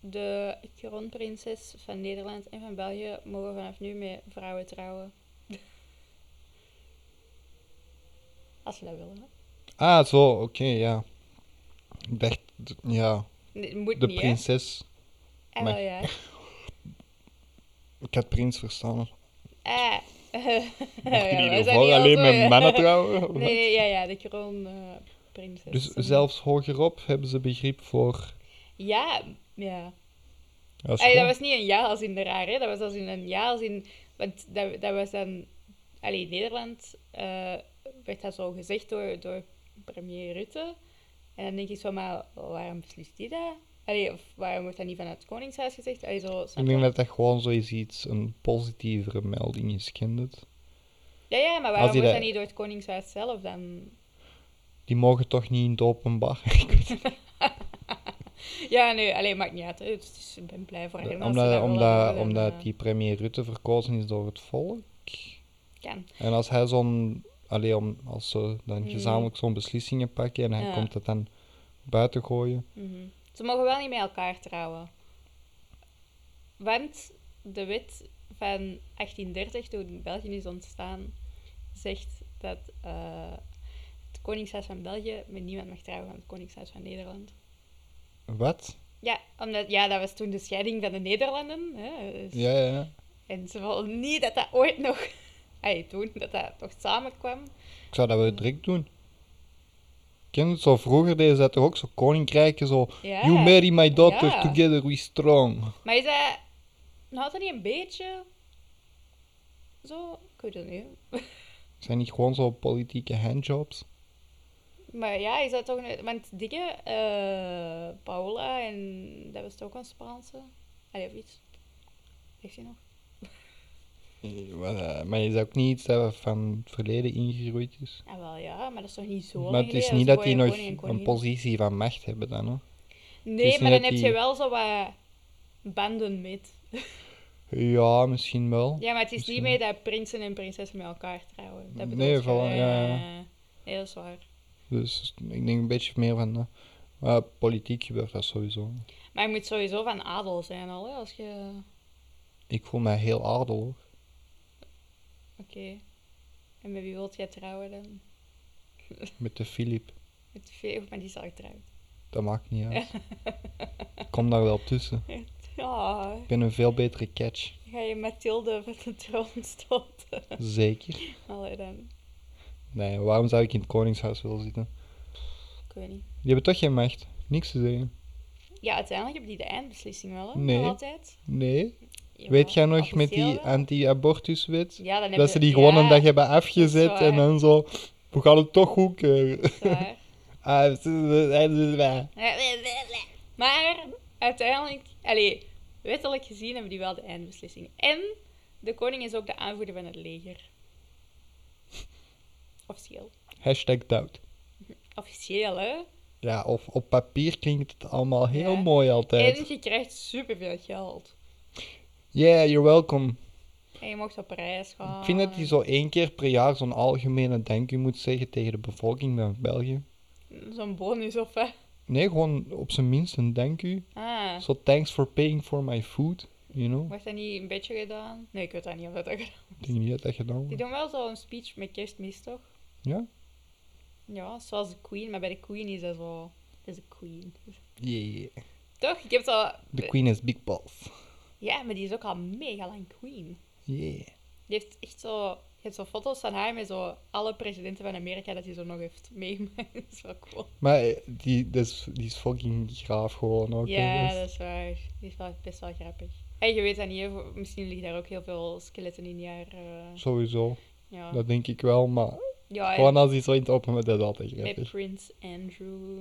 S2: De kroonprinses van Nederland en van België mogen vanaf nu met vrouwen trouwen. Als ze dat willen. hè.
S3: Ah, zo, oké, ja. Ik dacht, d- ja,
S2: Nee, moet
S3: de
S2: niet, hè?
S3: prinses.
S2: Ah,
S3: maar-
S2: wel, ja.
S3: Ik had prins verstaan.
S2: Ah.
S3: Mochten
S2: Ja,
S3: die
S2: we zijn
S3: hiervoor
S2: niet al
S3: alleen
S2: zo,
S3: met
S2: ja.
S3: mannen trouwen? of
S2: Nee,
S3: wat?
S2: nee, ja, ja, de kroonprinses.
S3: Dus zelfs hogerop hebben ze begrip voor...
S2: Ja, ja.
S3: Ja, is
S2: Allee, dat
S3: goed.
S2: was niet een ja als in de raar, hè. Dat was als in een ja als in... Want dat, dat was dan... Allee, in Nederland eh, werd dat zo gezegd door, door premier Rutte. En dan denk ik zo, maar waarom beslist die dat? Allee, of waarom wordt dat niet vanuit het Koningshuis gezegd? Allee, zo, snap
S3: Ik denk
S2: je?
S3: dat dat gewoon zoiets iets, een positievere melding is, kent het?
S2: Ja, ja, maar waarom
S3: die
S2: wordt dat
S3: dat-
S2: niet door het Koningshuis zelf dan?
S3: Die mogen toch niet in het openbaar. Ik weet het
S2: Ja, nee, alleen maakt niet uit. hè. Dus, dus ik ben blij voor
S3: niet.
S2: hem. als ze
S3: Eh, omdat
S2: dat willen
S3: omdat,
S2: doen,
S3: omdat
S2: eh,
S3: die premier Rutte verkozen is door het volk.
S2: eh, Kan.
S3: En als hij zo'n... Allee, om, als ze dan
S2: Mm.
S3: gezamenlijk zo'n beslissingen pakken en hij
S2: Ja.
S3: komt dat dan buiten gooien.
S2: Mhm. Ze mogen wel niet met elkaar trouwen. Want de wet van 1830, toen België is ontstaan, zegt dat eh, het Koningshuis van België met niemand mag trouwen van het Koningshuis van Nederland.
S3: Wat?
S2: Ja, omdat, ja dat was toen de scheiding van de Nederlanden. Hè, dus-
S3: Ja, ja, ja.
S2: En ze wilden niet dat dat ooit nog... Ay, toen, dat dat nog samenkwam.
S3: Ik zou dat wel direct doen. Ken je het zo vroeger deden ze dat toch ook zo koninkrijken zo.
S2: Ja.
S3: You marry my daughter,
S2: Ja.
S3: together we strong.
S2: Maar is dat... Had dat niet een beetje... Zo? Ik weet het niet.
S3: Zijn niet gewoon zo politieke handjobs?
S2: Maar ja, is dat toch... een- Want dingen... eh, Paola en... Dat was toch een Spaanse? Allee, of iets. Heeft hij nog?
S3: Eh, wel, eh, Maar is dat ook niet iets dat van het verleden ingegroeid is?
S2: Ah, wel ja, maar dat is toch niet zo lang
S3: maar het is
S2: geleden?
S3: niet
S2: was
S3: dat die
S2: gewoon
S3: nog
S2: koning en
S3: een
S2: koningin.
S3: positie van macht hebben dan, hè? is
S2: Nee,
S3: niet
S2: maar dan
S3: dat
S2: heb je
S3: die-
S2: wel zo wat banden met.
S3: Ja, misschien wel.
S2: Ja, maar het is niet
S3: Misschien
S2: meer dat prinsen en prinsessen met elkaar trouwen. Dat bedoel eh,
S3: Nee,
S2: je,
S3: voilà, ja, ja.
S2: Nee, dat is waar.
S3: Dus ik denk een beetje meer van... eh, maar politiek gebeurt dat sowieso.
S2: Maar je moet sowieso van adel zijn al, hè, als je...
S3: Ik voel mij heel aardel, hoor.
S2: Oké. En met wie wilt jij trouwen dan?
S3: Met de Filip.
S2: Met veel, maar die is al getrouwd.
S3: Dat maakt niet uit. Ik kom daar wel tussen.
S2: Ja,
S3: Ik ben een veel betere catch.
S2: ga je Mathilde van de troon stoten?
S3: Zeker.
S2: Allee dan,
S3: Nee, waarom zou ik in het koningshuis willen zitten?
S2: ik weet niet.
S3: Die hebben toch geen macht. Niks te zeggen.
S2: Ja, uiteindelijk heb je die de eindbeslissing wel, hè?
S3: Nee.
S2: Nog altijd.
S3: Nee.
S2: Jawel,
S3: Weet jij nog met
S2: officieel
S3: die
S2: wel.
S3: anti-abortuswet?
S2: Ja, dan hebben
S3: Dat ze die gewoon een dag hebben
S2: dat
S3: afgezet
S2: is waar.
S3: en dan zo... We gaan het toch goed keuren.
S2: hebben.
S3: Ah, het is- het is-
S2: Maar uiteindelijk, allee, wettelijk gezien hebben die wel de eindbeslissing. En de koning is ook de aanvoerder van het leger. Officieel.
S3: Hashtag doubt.
S2: Officieel, hè?
S3: Ja, of op papier klinkt het allemaal heel
S2: Ja.
S3: mooi altijd.
S2: En je krijgt superveel geld.
S3: Yeah, you're welcome.
S2: En je mocht op reis gaan.
S3: Ik vind dat die zo één keer per jaar zo'n algemene dank u moet zeggen tegen de bevolking van België.
S2: Zo'n bonus of hè?
S3: Nee, gewoon op zijn minst een dank u.
S2: Ah,
S3: Zo, thanks for paying for my food. You know?
S2: wordt dat niet een beetje gedaan? Nee, ik weet dat niet of dat gedaan
S3: Ik denk niet dat dat gedaan
S2: Die
S3: wordt.
S2: doen wel zo'n speech met kerstmis, toch?
S3: Ja?
S2: Ja, zoals de queen. Maar bij de queen is dat zo... Dat is de queen.
S3: Yeah.
S2: Toch? Ik heb zo...
S3: The queen is big balls.
S2: Ja, maar die is ook al mega lang queen.
S3: Yeah.
S2: Die heeft echt zo... Je hebt zo foto's van haar met zo alle presidenten van Amerika dat hij zo nog heeft meegemaakt. Dat is wel cool.
S3: Maar eh, die, dat is, die is fucking graaf gewoon dus ook. hè.
S2: ja,
S3: Dat is-
S2: dat is waar. Die is wel best wel grappig. En je weet dat niet, hè, voor- misschien liggen daar ook heel veel skeletten in die haar eh,
S3: Sowieso.
S2: Ja,
S3: Dat denk ik wel, maar
S2: ja en
S3: gewoon als iets zo in het open met dat is altijd
S2: met
S3: grappig.
S2: Prince Andrew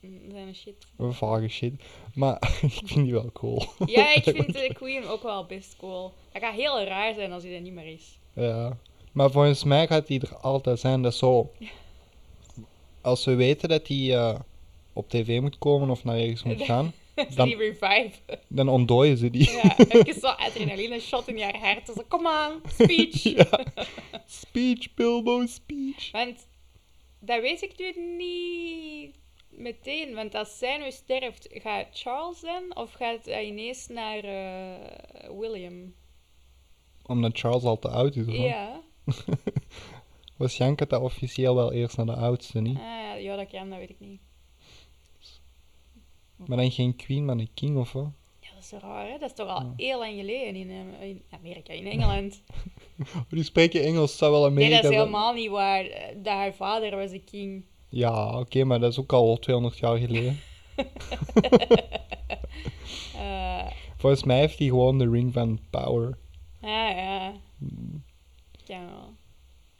S2: en zijn shit.
S3: Een vage shit. Maar ik vind die wel cool.
S2: Ja, ik vind eh, Queen ook wel best cool. Hij gaat heel raar zijn als hij er niet meer is.
S3: Ja. Maar volgens mij gaat die er altijd zijn. Dat is zo. Als we weten dat die eh, op tv moet komen of naar ergens moet gaan, Dan-
S2: Die revive.
S3: dan ontdooien ze die.
S2: Ja, even zo'n adrenaline shot in je hart. Dus kom aan, speech.
S3: Ja. Speech, Bilbo, speech.
S2: Want dat weet ik nu niet meteen. Want als zij nu sterft, gaat Charles dan? Of gaat hij ineens naar eh, William?
S3: Omdat Charles al te oud is. hoor.
S2: Ja.
S3: Waarschijnlijk gaat dat officieel wel eerst naar de oudste, niet?
S2: Ah, ja, dat kan, dat weet ik niet.
S3: Maar dan geen queen, maar een king of wat?
S2: Ja, dat is zo raar, hè? Dat is toch al
S3: Ja.
S2: heel lang geleden in, eh, in Amerika, in Engeland.
S3: Die spreken Engels, zou wel
S2: Nee,
S3: Amerika...
S2: dat is
S3: zijn.
S2: helemaal niet waar. Eh, Dat haar vader was de king.
S3: Ja, oké, maar dat is ook al 200 jaar geleden.
S2: Eh,
S3: Volgens mij heeft hij gewoon de ring van power.
S2: ja, ja. Ja, wel.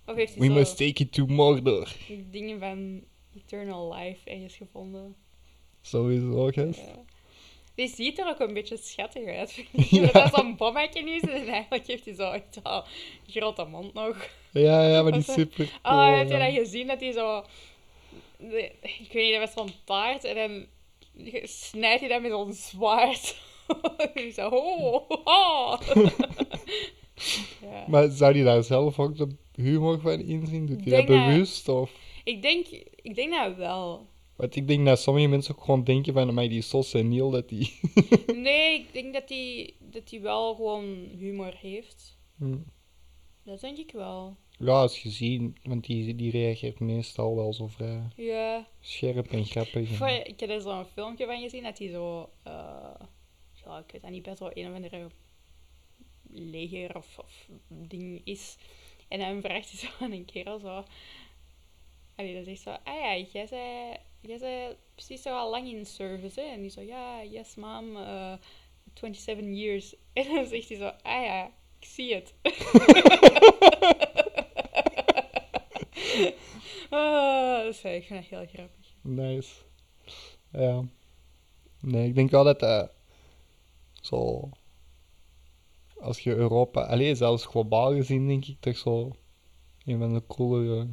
S2: Of heeft
S3: We
S2: hij zo
S3: must take it to Mordor.
S2: dingen van Eternal Life ergens gevonden?
S3: Sowieso, gast.
S2: Ja. Die ziet er ook een beetje schattig uit, vind
S3: Ja.
S2: ik. Dat is zo'n bommetje nu en eigenlijk heeft hij zo echt al een grote mond nog.
S3: Ja, ja, maar die
S2: Wat,
S3: is
S2: eh,
S3: super cool.
S2: Oh, heb je dat gezien? Dat hij zo... de- Ik weet niet, dat was zo'n paard. En dan snijdt hij dat met zo'n zwaard. En zo... Oh, oh. ja.
S3: Maar zou die daar zelf ook de humor van inzien? Doet hij dat
S2: Denk dat-
S3: bewust? Of...
S2: ik, denk, ik denk dat wel.
S3: Want ik denk dat sommige mensen ook gewoon denken van... Maar die is zo seniel dat die...
S2: Nee, ik denk dat hij dat die wel gewoon humor heeft.
S3: Hm.
S2: Dat denk ik wel.
S3: ja, als gezien. Want die, die reageert meestal wel zo vrij
S2: Ja.
S3: scherp en grappig.
S2: Voor,
S3: en-
S2: ik heb er zo'n filmpje van gezien dat hij zo. eh, ja, ik weet dat niet best wel een of andere leger of, of ding is. En dan vraagt hij zo aan een kerel zo. En die dan zegt zo: Ah ja, jij zei, jij zei precies zo al lang in service. Hè? En die zo: Ja, yes, mom, eh, 27 years. En dan zegt hij zo: Ah ja, ik zie het. Ah, dat is, ik vind dat heel grappig.
S3: Nice. Ja. Nee, ik denk wel dat dat zo... Als je Europa... Allee, zelfs globaal gezien denk ik toch zo... Een van de coolere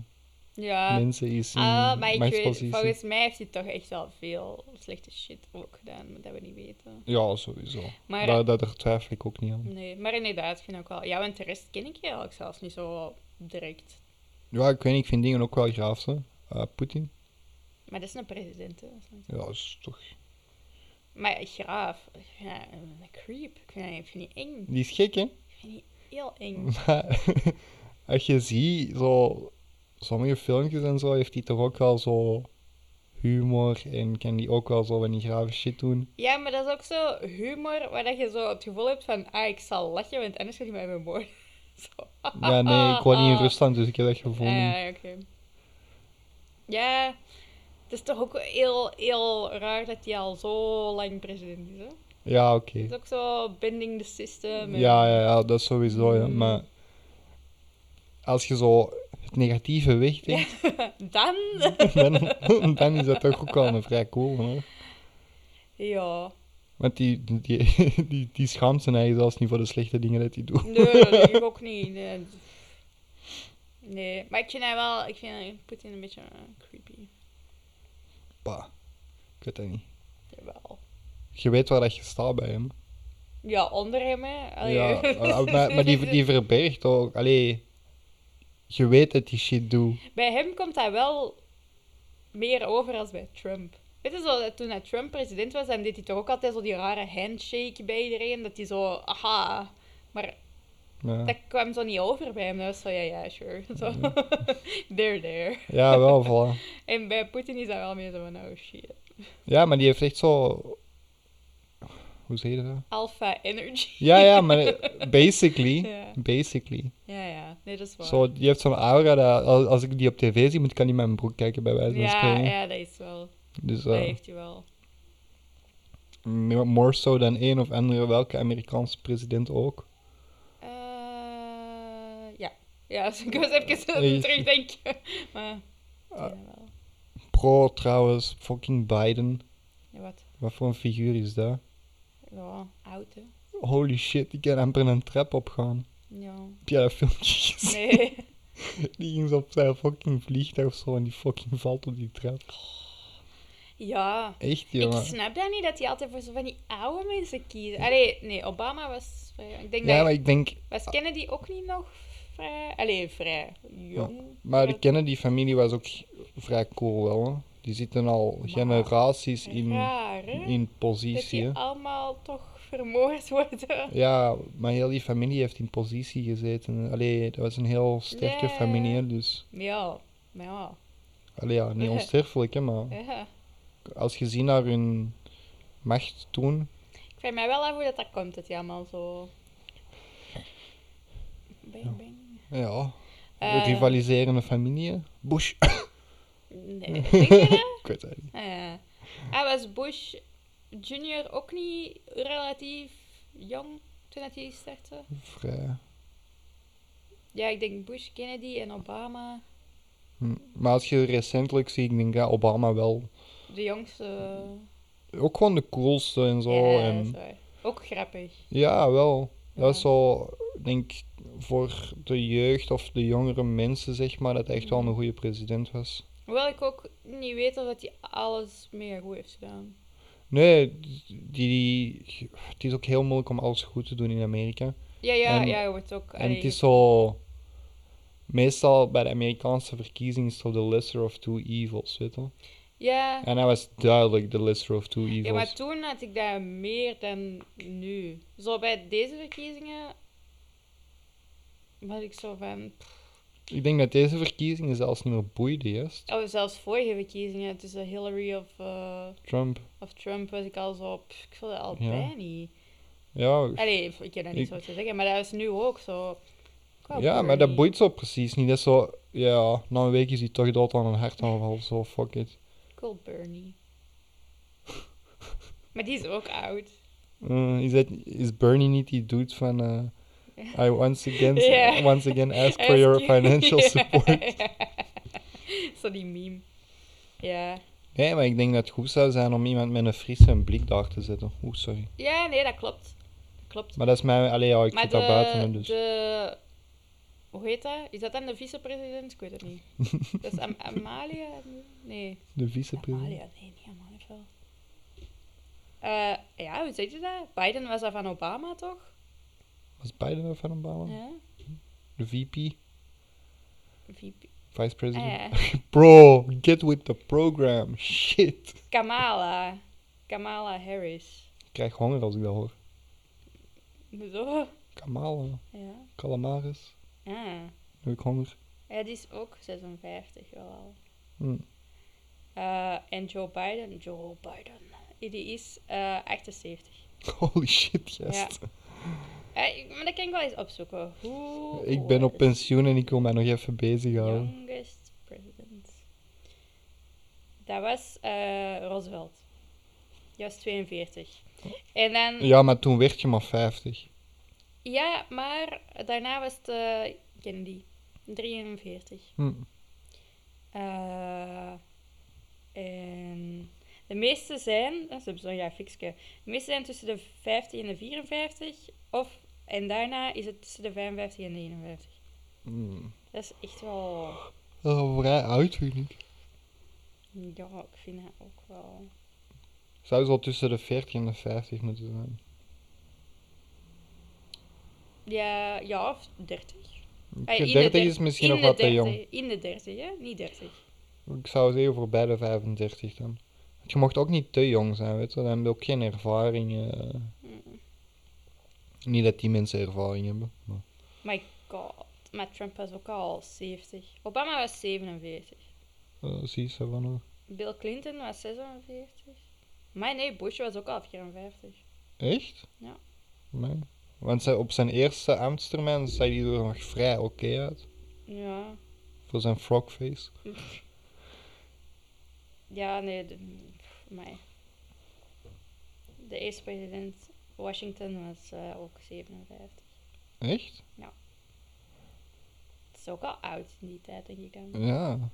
S2: Ja.
S3: mensen is in
S2: Ah, Eh, maar ik weet,
S3: machtspositie.
S2: volgens mij heeft hij toch echt wel veel slechte shit ook gedaan, maar dat we niet weten.
S3: Ja, sowieso.
S2: Maar,
S3: Daar, daar, daar twijfel ik ook niet aan.
S2: nee, maar inderdaad, vind ik wel. Ja, want de rest ken ik eigenlijk zelfs niet zo direct.
S3: Ja, ik weet niet, ik vind dingen ook wel graaf, hè. Eh, Poetin.
S2: Maar dat is een president, hè. dat is niet-
S3: Ja, dat is toch...
S2: Maar graaf, ik vind dat een creep. Ik vind dat, ik vind die eng.
S3: Die is gek, hè?
S2: Ik vind die heel eng.
S3: Maar als je ziet, zo... Sommige filmpjes en zo heeft hij toch ook wel zo... Humor en kan die ook wel zo van die grave shit doen.
S2: Ja, maar dat is ook zo humor waar dat je zo het gevoel hebt van, ah, ik zal lachen, want anders gaat hij mij vermoorden. Zo.
S3: Ja, nee, ik woon niet in Rusland, dus ik heb dat gevoel
S2: Ah,
S3: niet.
S2: ja, oké. Ja, het is toch ook heel, heel raar dat hij al zo lang president is, hè?
S3: Ja, oké.
S2: Het is ook zo bending the system. en-
S3: Ja, ja, ja, dat is sowieso, ja.
S2: Mm.
S3: Maar als je zo het negatieve wegdenkt,
S2: Dan?
S3: dan, dan is dat toch ook wel een vrij cool, hoor.
S2: Ja.
S3: Want die, die, die, die schaamt zijn eigen zelfs niet voor de slechte dingen dat hij doet.
S2: Nee, dat denk ik ook niet. Nee. Nee, maar ik vind hij wel, ik vind Poetin een beetje eh, creepy.
S3: Pa, ik weet dat niet.
S2: Jawel.
S3: Je weet waar dat je staat bij hem.
S2: Ja, onder hem, hè. Allee.
S3: Ja, eh, maar, maar die, die verbergt ook. Allee, je weet dat die shit doet.
S2: Bij hem komt hij wel meer over als bij Trump. Weet je zo, dat toen dat Trump president was, dan deed hij toch ook altijd zo die rare handshake bij iedereen. Dat hij zo, aha. Maar
S3: Ja,
S2: dat kwam zo niet over bij hem. Dat was zo, ja, ja, sure. Zo, there, there.
S3: ja wel, voilà.
S2: En bij Poetin is dat wel meer zo van, oh shit.
S3: Ja, maar die heeft echt zo. Hoe zeg je dat?
S2: Alpha energy.
S3: Ja, ja, maar eh, basically.
S2: Ja,
S3: Basically.
S2: ja, ja. nee, dat is waar.
S3: Zo, die heeft zo'n aura dat als, als ik die op tv zie, moet ik aan die met mijn broek kijken, bij wijze van
S2: ja,
S3: spreken.
S2: ja, dat is wel.
S3: Dus
S2: Dat
S3: eh,
S2: heeft hij wel.
S3: m- more so dan één of andere, welke Amerikaanse president ook.
S2: Eh, ja, Ja, dus ik was even aan het terugdenken. Maar, ja, wel.
S3: Pro trouwens, fucking Biden.
S2: Ja, wat?
S3: Wat voor een figuur is dat?
S2: Ja, oud, hè?
S3: Holy shit, ik kan amper een trap opgaan.
S2: Ja.
S3: Heb jij dat filmpje gezien?
S2: Nee.
S3: Die ging zo op zijn fucking vliegtuig of zo en die fucking valt op die trap.
S2: Ja.
S3: Echt,
S2: Ik
S3: jongen.
S2: snap dat niet, dat hij altijd voor zo van die oude mensen kiest. Allee, nee, Obama was vrij... Ik denk
S3: Ja,
S2: dat...
S3: maar ik denk...
S2: Was Kennedy ook niet nog vrij... Allee, vrij jong?
S3: Maar de
S2: Dat-
S3: Kennedy-familie was ook vrij cool wel, hè. Die zitten al generaties in,
S2: Raar, hè?
S3: in
S2: dat
S3: positie,
S2: die
S3: hè.
S2: allemaal toch vermoord worden.
S3: Ja, maar heel die familie heeft in positie gezeten. Allee, dat was een heel sterke
S2: Ja.
S3: familie, hè, dus...
S2: Ja, maar ja.
S3: Allee, ja, niet
S2: Ja.
S3: onsterfelijk, hè, maar...
S2: ja.
S3: Als je ziet naar hun macht toen...
S2: Ik vraag mij wel af hoe dat, dat komt, dat die allemaal zo... Bang, bang.
S3: Ja,
S2: Eh,
S3: rivaliserende familie. hè. Bush.
S2: Nee, denk je dat?
S3: Ik weet het niet.
S2: Ah, ja. Ah, was Bush junior ook niet relatief jong toen dat hij startte?
S3: Vrij.
S2: Ja, ik denk Bush, Kennedy en Obama.
S3: Hm. Maar als je recentelijk ziet, ik denk ja, Obama wel.
S2: De jongste.
S3: Ook gewoon de coolste en zo.
S2: ja, dat is
S3: en...
S2: waar. Ook grappig.
S3: ja wel.
S2: Ja.
S3: Dat is zo, denk ik, voor de jeugd of de jongere mensen, zeg maar, dat hij echt wel
S2: Mhm.
S3: een goede president was.
S2: Hoewel ik ook niet weet of dat hij alles mega goed heeft gedaan.
S3: Nee, die, die- het is ook heel moeilijk om alles goed te doen in Amerika.
S2: Ja, ja,
S3: En-
S2: ja, je wordt ook.
S3: En het
S2: allee,
S3: is zo. Meestal bij de Amerikaanse verkiezingen is het zo de lesser of two evils, weet je?
S2: Ja.
S3: En hij was duidelijk de lesser of two evils.
S2: ja, maar toen had ik daar meer dan nu. Zo bij deze verkiezingen. was ik zo van.
S3: Ik denk dat deze verkiezingen zelfs niet meer boeide, juist.
S2: Oh, zelfs vorige verkiezingen tussen Hillary of, eh,
S3: Trump.
S2: of Trump was ik al zo. pff, ik vond dat al
S3: Ja.
S2: bijna niet.
S3: Ja,
S2: Allee, ik heb dat niet
S3: Ik-
S2: zo te zeggen, maar dat is nu ook zo. Ik wou
S3: ja maar
S2: Bernie.
S3: dat boeit zo precies niet. Dat is zo, ja, na een week is hij toch dood aan een hartaanval, zo fuck it.
S2: Cool Bernie. maar die is ook oud.
S3: Eh, is, dat, is Bernie niet die dude van eh, I once again,
S2: Ja.
S3: once again ask
S2: Ask
S3: for your
S2: you.
S3: financial
S2: Ja.
S3: support?
S2: Zo die meme. Ja.
S3: Nee, maar ik denk dat het goed zou zijn om iemand met een frisse blik daar te zetten. Oeh, sorry.
S2: Ja, nee, dat klopt. Dat klopt.
S3: Maar dat is mijn... Allee, ja, ik
S2: Maar
S3: zit daar buiten, hè, dus...
S2: de... Hoe heet dat? Is dat dan de vicepresident? Ik weet het niet. dat is Am- Amalia? Nee.
S3: De vicepresident.
S2: Amalia? Nee, niet Amalia. wel. Eh, ja, hoe zeg je dat? Biden was dat van Obama, toch?
S3: Was Biden of van Obama?
S2: Ja.
S3: De VP?
S2: VP.
S3: Vice
S2: Ah,
S3: president?
S2: ja.
S3: Bro, get with the program. Shit.
S2: Kamala. Kamala Harris.
S3: Ik krijg honger als ik dat hoor.
S2: Zo.
S3: Kamala,
S2: Ja.
S3: calamaris.
S2: Ah.
S3: Nu heb ik honger.
S2: Ja, die is ook 56 wel al.
S3: Hm.
S2: Eh, en Joe Biden, Joe Biden, die is eh, 78.
S3: Holy shit, yes.
S2: Ja. Eh, ik- maar dat kan ik wel eens opzoeken. Hoe
S3: Ik ben op
S2: was
S3: pensioen en ik wil mij nog even bezighouden.
S2: Youngest president. Dat was eh, Roosevelt. Die was 42. En dan, ja.
S3: Ja, maar toen werd je maar 50.
S2: maar daarna was het eh, Kennedy, 43.
S3: Hm.
S2: Eh, en de meeste zijn, dat is zo'n grafiekje, de meeste zijn tussen de 50 en de 54. Of, en daarna is het tussen de 55 en de 51.
S3: Mm.
S2: Dat is echt wel,
S3: Dat is al vrij Oh, oud, vind ik.
S2: ja, ik vind dat ook wel.
S3: Zou zo tussen de 40 en de 50 moeten zijn.
S2: Ja, ja of 30.
S3: Ik
S2: Ah, in
S3: vind
S2: de
S3: 30
S2: der-
S3: is misschien
S2: in
S3: nog
S2: de
S3: wat te
S2: 30,
S3: jong.
S2: In de 30, hè? Niet 30.
S3: Ik zou zeggen voorbij de 35 dan. Want je mocht ook niet te jong zijn, weet je. Dan heb je ook geen ervaring. eh. Niet dat die mensen ervaring hebben. Maar...
S2: My god. Maar Trump was ook al 70. Obama was 47.
S3: eh, zie je, ze van hoor.
S2: Bill Clinton was 46. Maar nee, Bush was ook al 54.
S3: Echt?
S2: Ja.
S3: Nee. Want zij, op zijn eerste ambtstermijn zag hij er nog vrij oké uit.
S2: Ja,
S3: Voor zijn frogface.
S2: ja, nee, de, pff, amai. De eerste president Washington was eh, ook 57.
S3: Echt?
S2: Het is ook al oud in die tijd, denk ik dan.
S3: Ja.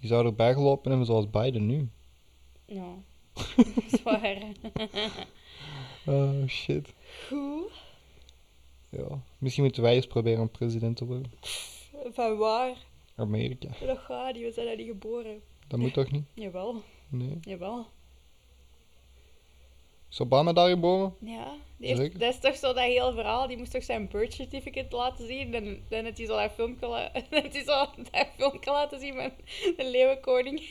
S3: Die zou erbij gelopen hebben zoals Biden nu.
S2: Ja. Zwaar.
S3: Oh shit.
S2: Goed.
S3: Ja. Misschien moeten wij eens proberen om president te worden.
S2: Van waar?
S3: Amerika.
S2: Dat gaat niet, we zijn daar niet geboren.
S3: Dat moet toch niet?
S2: Jawel,
S3: Nee.
S2: jawel.
S3: Is Obama daar geboren?
S2: Ja, die heeft-
S3: Zeker.
S2: dat is toch zo dat heel verhaal. Die moest toch zijn birth certificate laten zien. En dan heeft hij zo dat filmpje, la- dan heeft hij zo dat filmpje laten zien met de leeuwenkoning.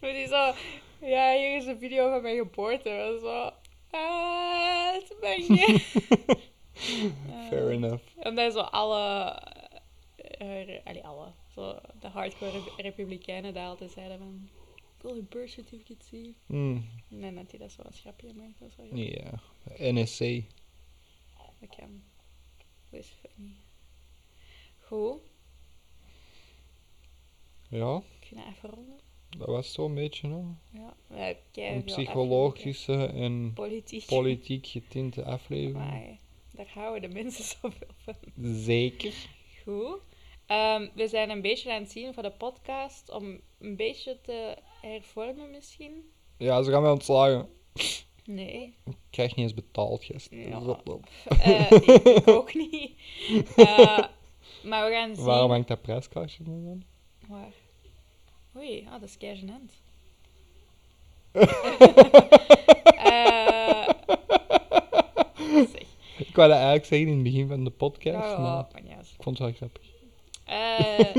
S2: Dan hij zo... Ja, hier is een video van mijn geboorte. En zo... Ah, het ben je.
S3: Fair enough.
S2: En dan zo alle... eh, re- allee, alle. Zo de hardcore rep- republikeinen daar altijd zeiden van... Ik wil je birth certificate zien.
S3: Hmm.
S2: En dan had hij dat zo als grapje gemaakt. Dat is wel grappig.
S3: Ja. NSC.
S2: Dat kan. Dat is funny. Goed,
S3: Ja,
S2: kunnen we even ronden?
S3: dat was zo'n beetje, hè.
S2: Ja. We hebben
S3: Een
S2: keiveel
S3: psychologische en
S2: afleveringen. Politiek.
S3: politiek getinte aflevering.
S2: Maar daar houden de mensen zoveel van.
S3: Zeker.
S2: Goed. Ehm, we zijn een beetje aan het zien voor de podcast om een beetje te hervormen misschien.
S3: Ja, ze gaan mij ontslagen.
S2: Nee,
S3: Ik krijg niet eens betaald, gast.
S2: Ja.
S3: Rot op.
S2: Eh, ik, ik ook niet. Eh, maar we gaan zien.
S3: Waarom hangt dat prijskaartje dan aan?
S2: Waar? Oei, ah, dat is kei gênant. Eh, zeg.
S3: Ik wou dat eigenlijk zeggen in het begin van de podcast,
S2: Ja,
S3: maar
S2: ja, maakt niet uit.
S3: ik vond het wel grappig.
S2: oh, Eh,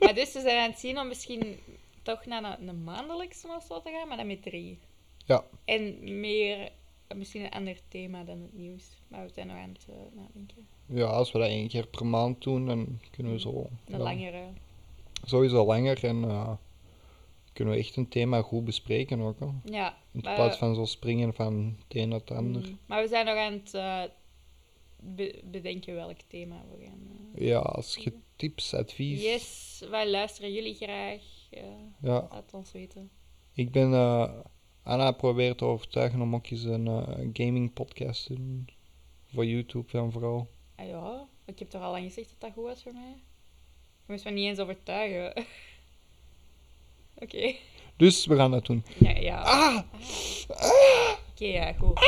S2: maar dus we zijn aan het zien om misschien toch naar een, een maandelijkse of zo te gaan, maar dan met drie.
S3: Ja.
S2: En meer, misschien een ander thema dan het nieuws. Maar we zijn nog aan het eh, nadenken.
S3: Ja, als we dat één keer per maand doen, dan kunnen we zo...
S2: Een
S3: ja,
S2: langere.
S3: Sowieso langer en eh, kunnen we echt een thema goed bespreken ook, hè.
S2: Ja.
S3: In
S2: maar-
S3: plaats van zo springen van het een naar het ander.
S2: Mm, Maar we zijn nog aan het eh, be- bedenken welk thema we gaan. eh.
S3: Ja, als je tips, advies...
S2: Yes, wij luisteren jullie graag. eh,
S3: Ja,
S2: laat ons weten.
S3: ik ben eh, Anna probeert te overtuigen om ook eens een eh, gaming podcast te doen. Voor YouTube dan vooral.
S2: Ah ja, ik heb toch al lang gezegd dat dat goed was voor mij? Je moest me niet eens overtuigen. Oké.
S3: Dus we gaan dat doen.
S2: Ja, ja. Oké, ja, goed.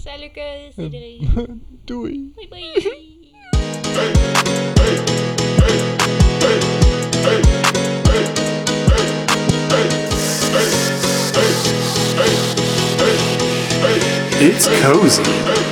S2: Salut, Lucas. Iedereen.
S3: Doei!
S2: Bye, bye.
S1: It's cozy.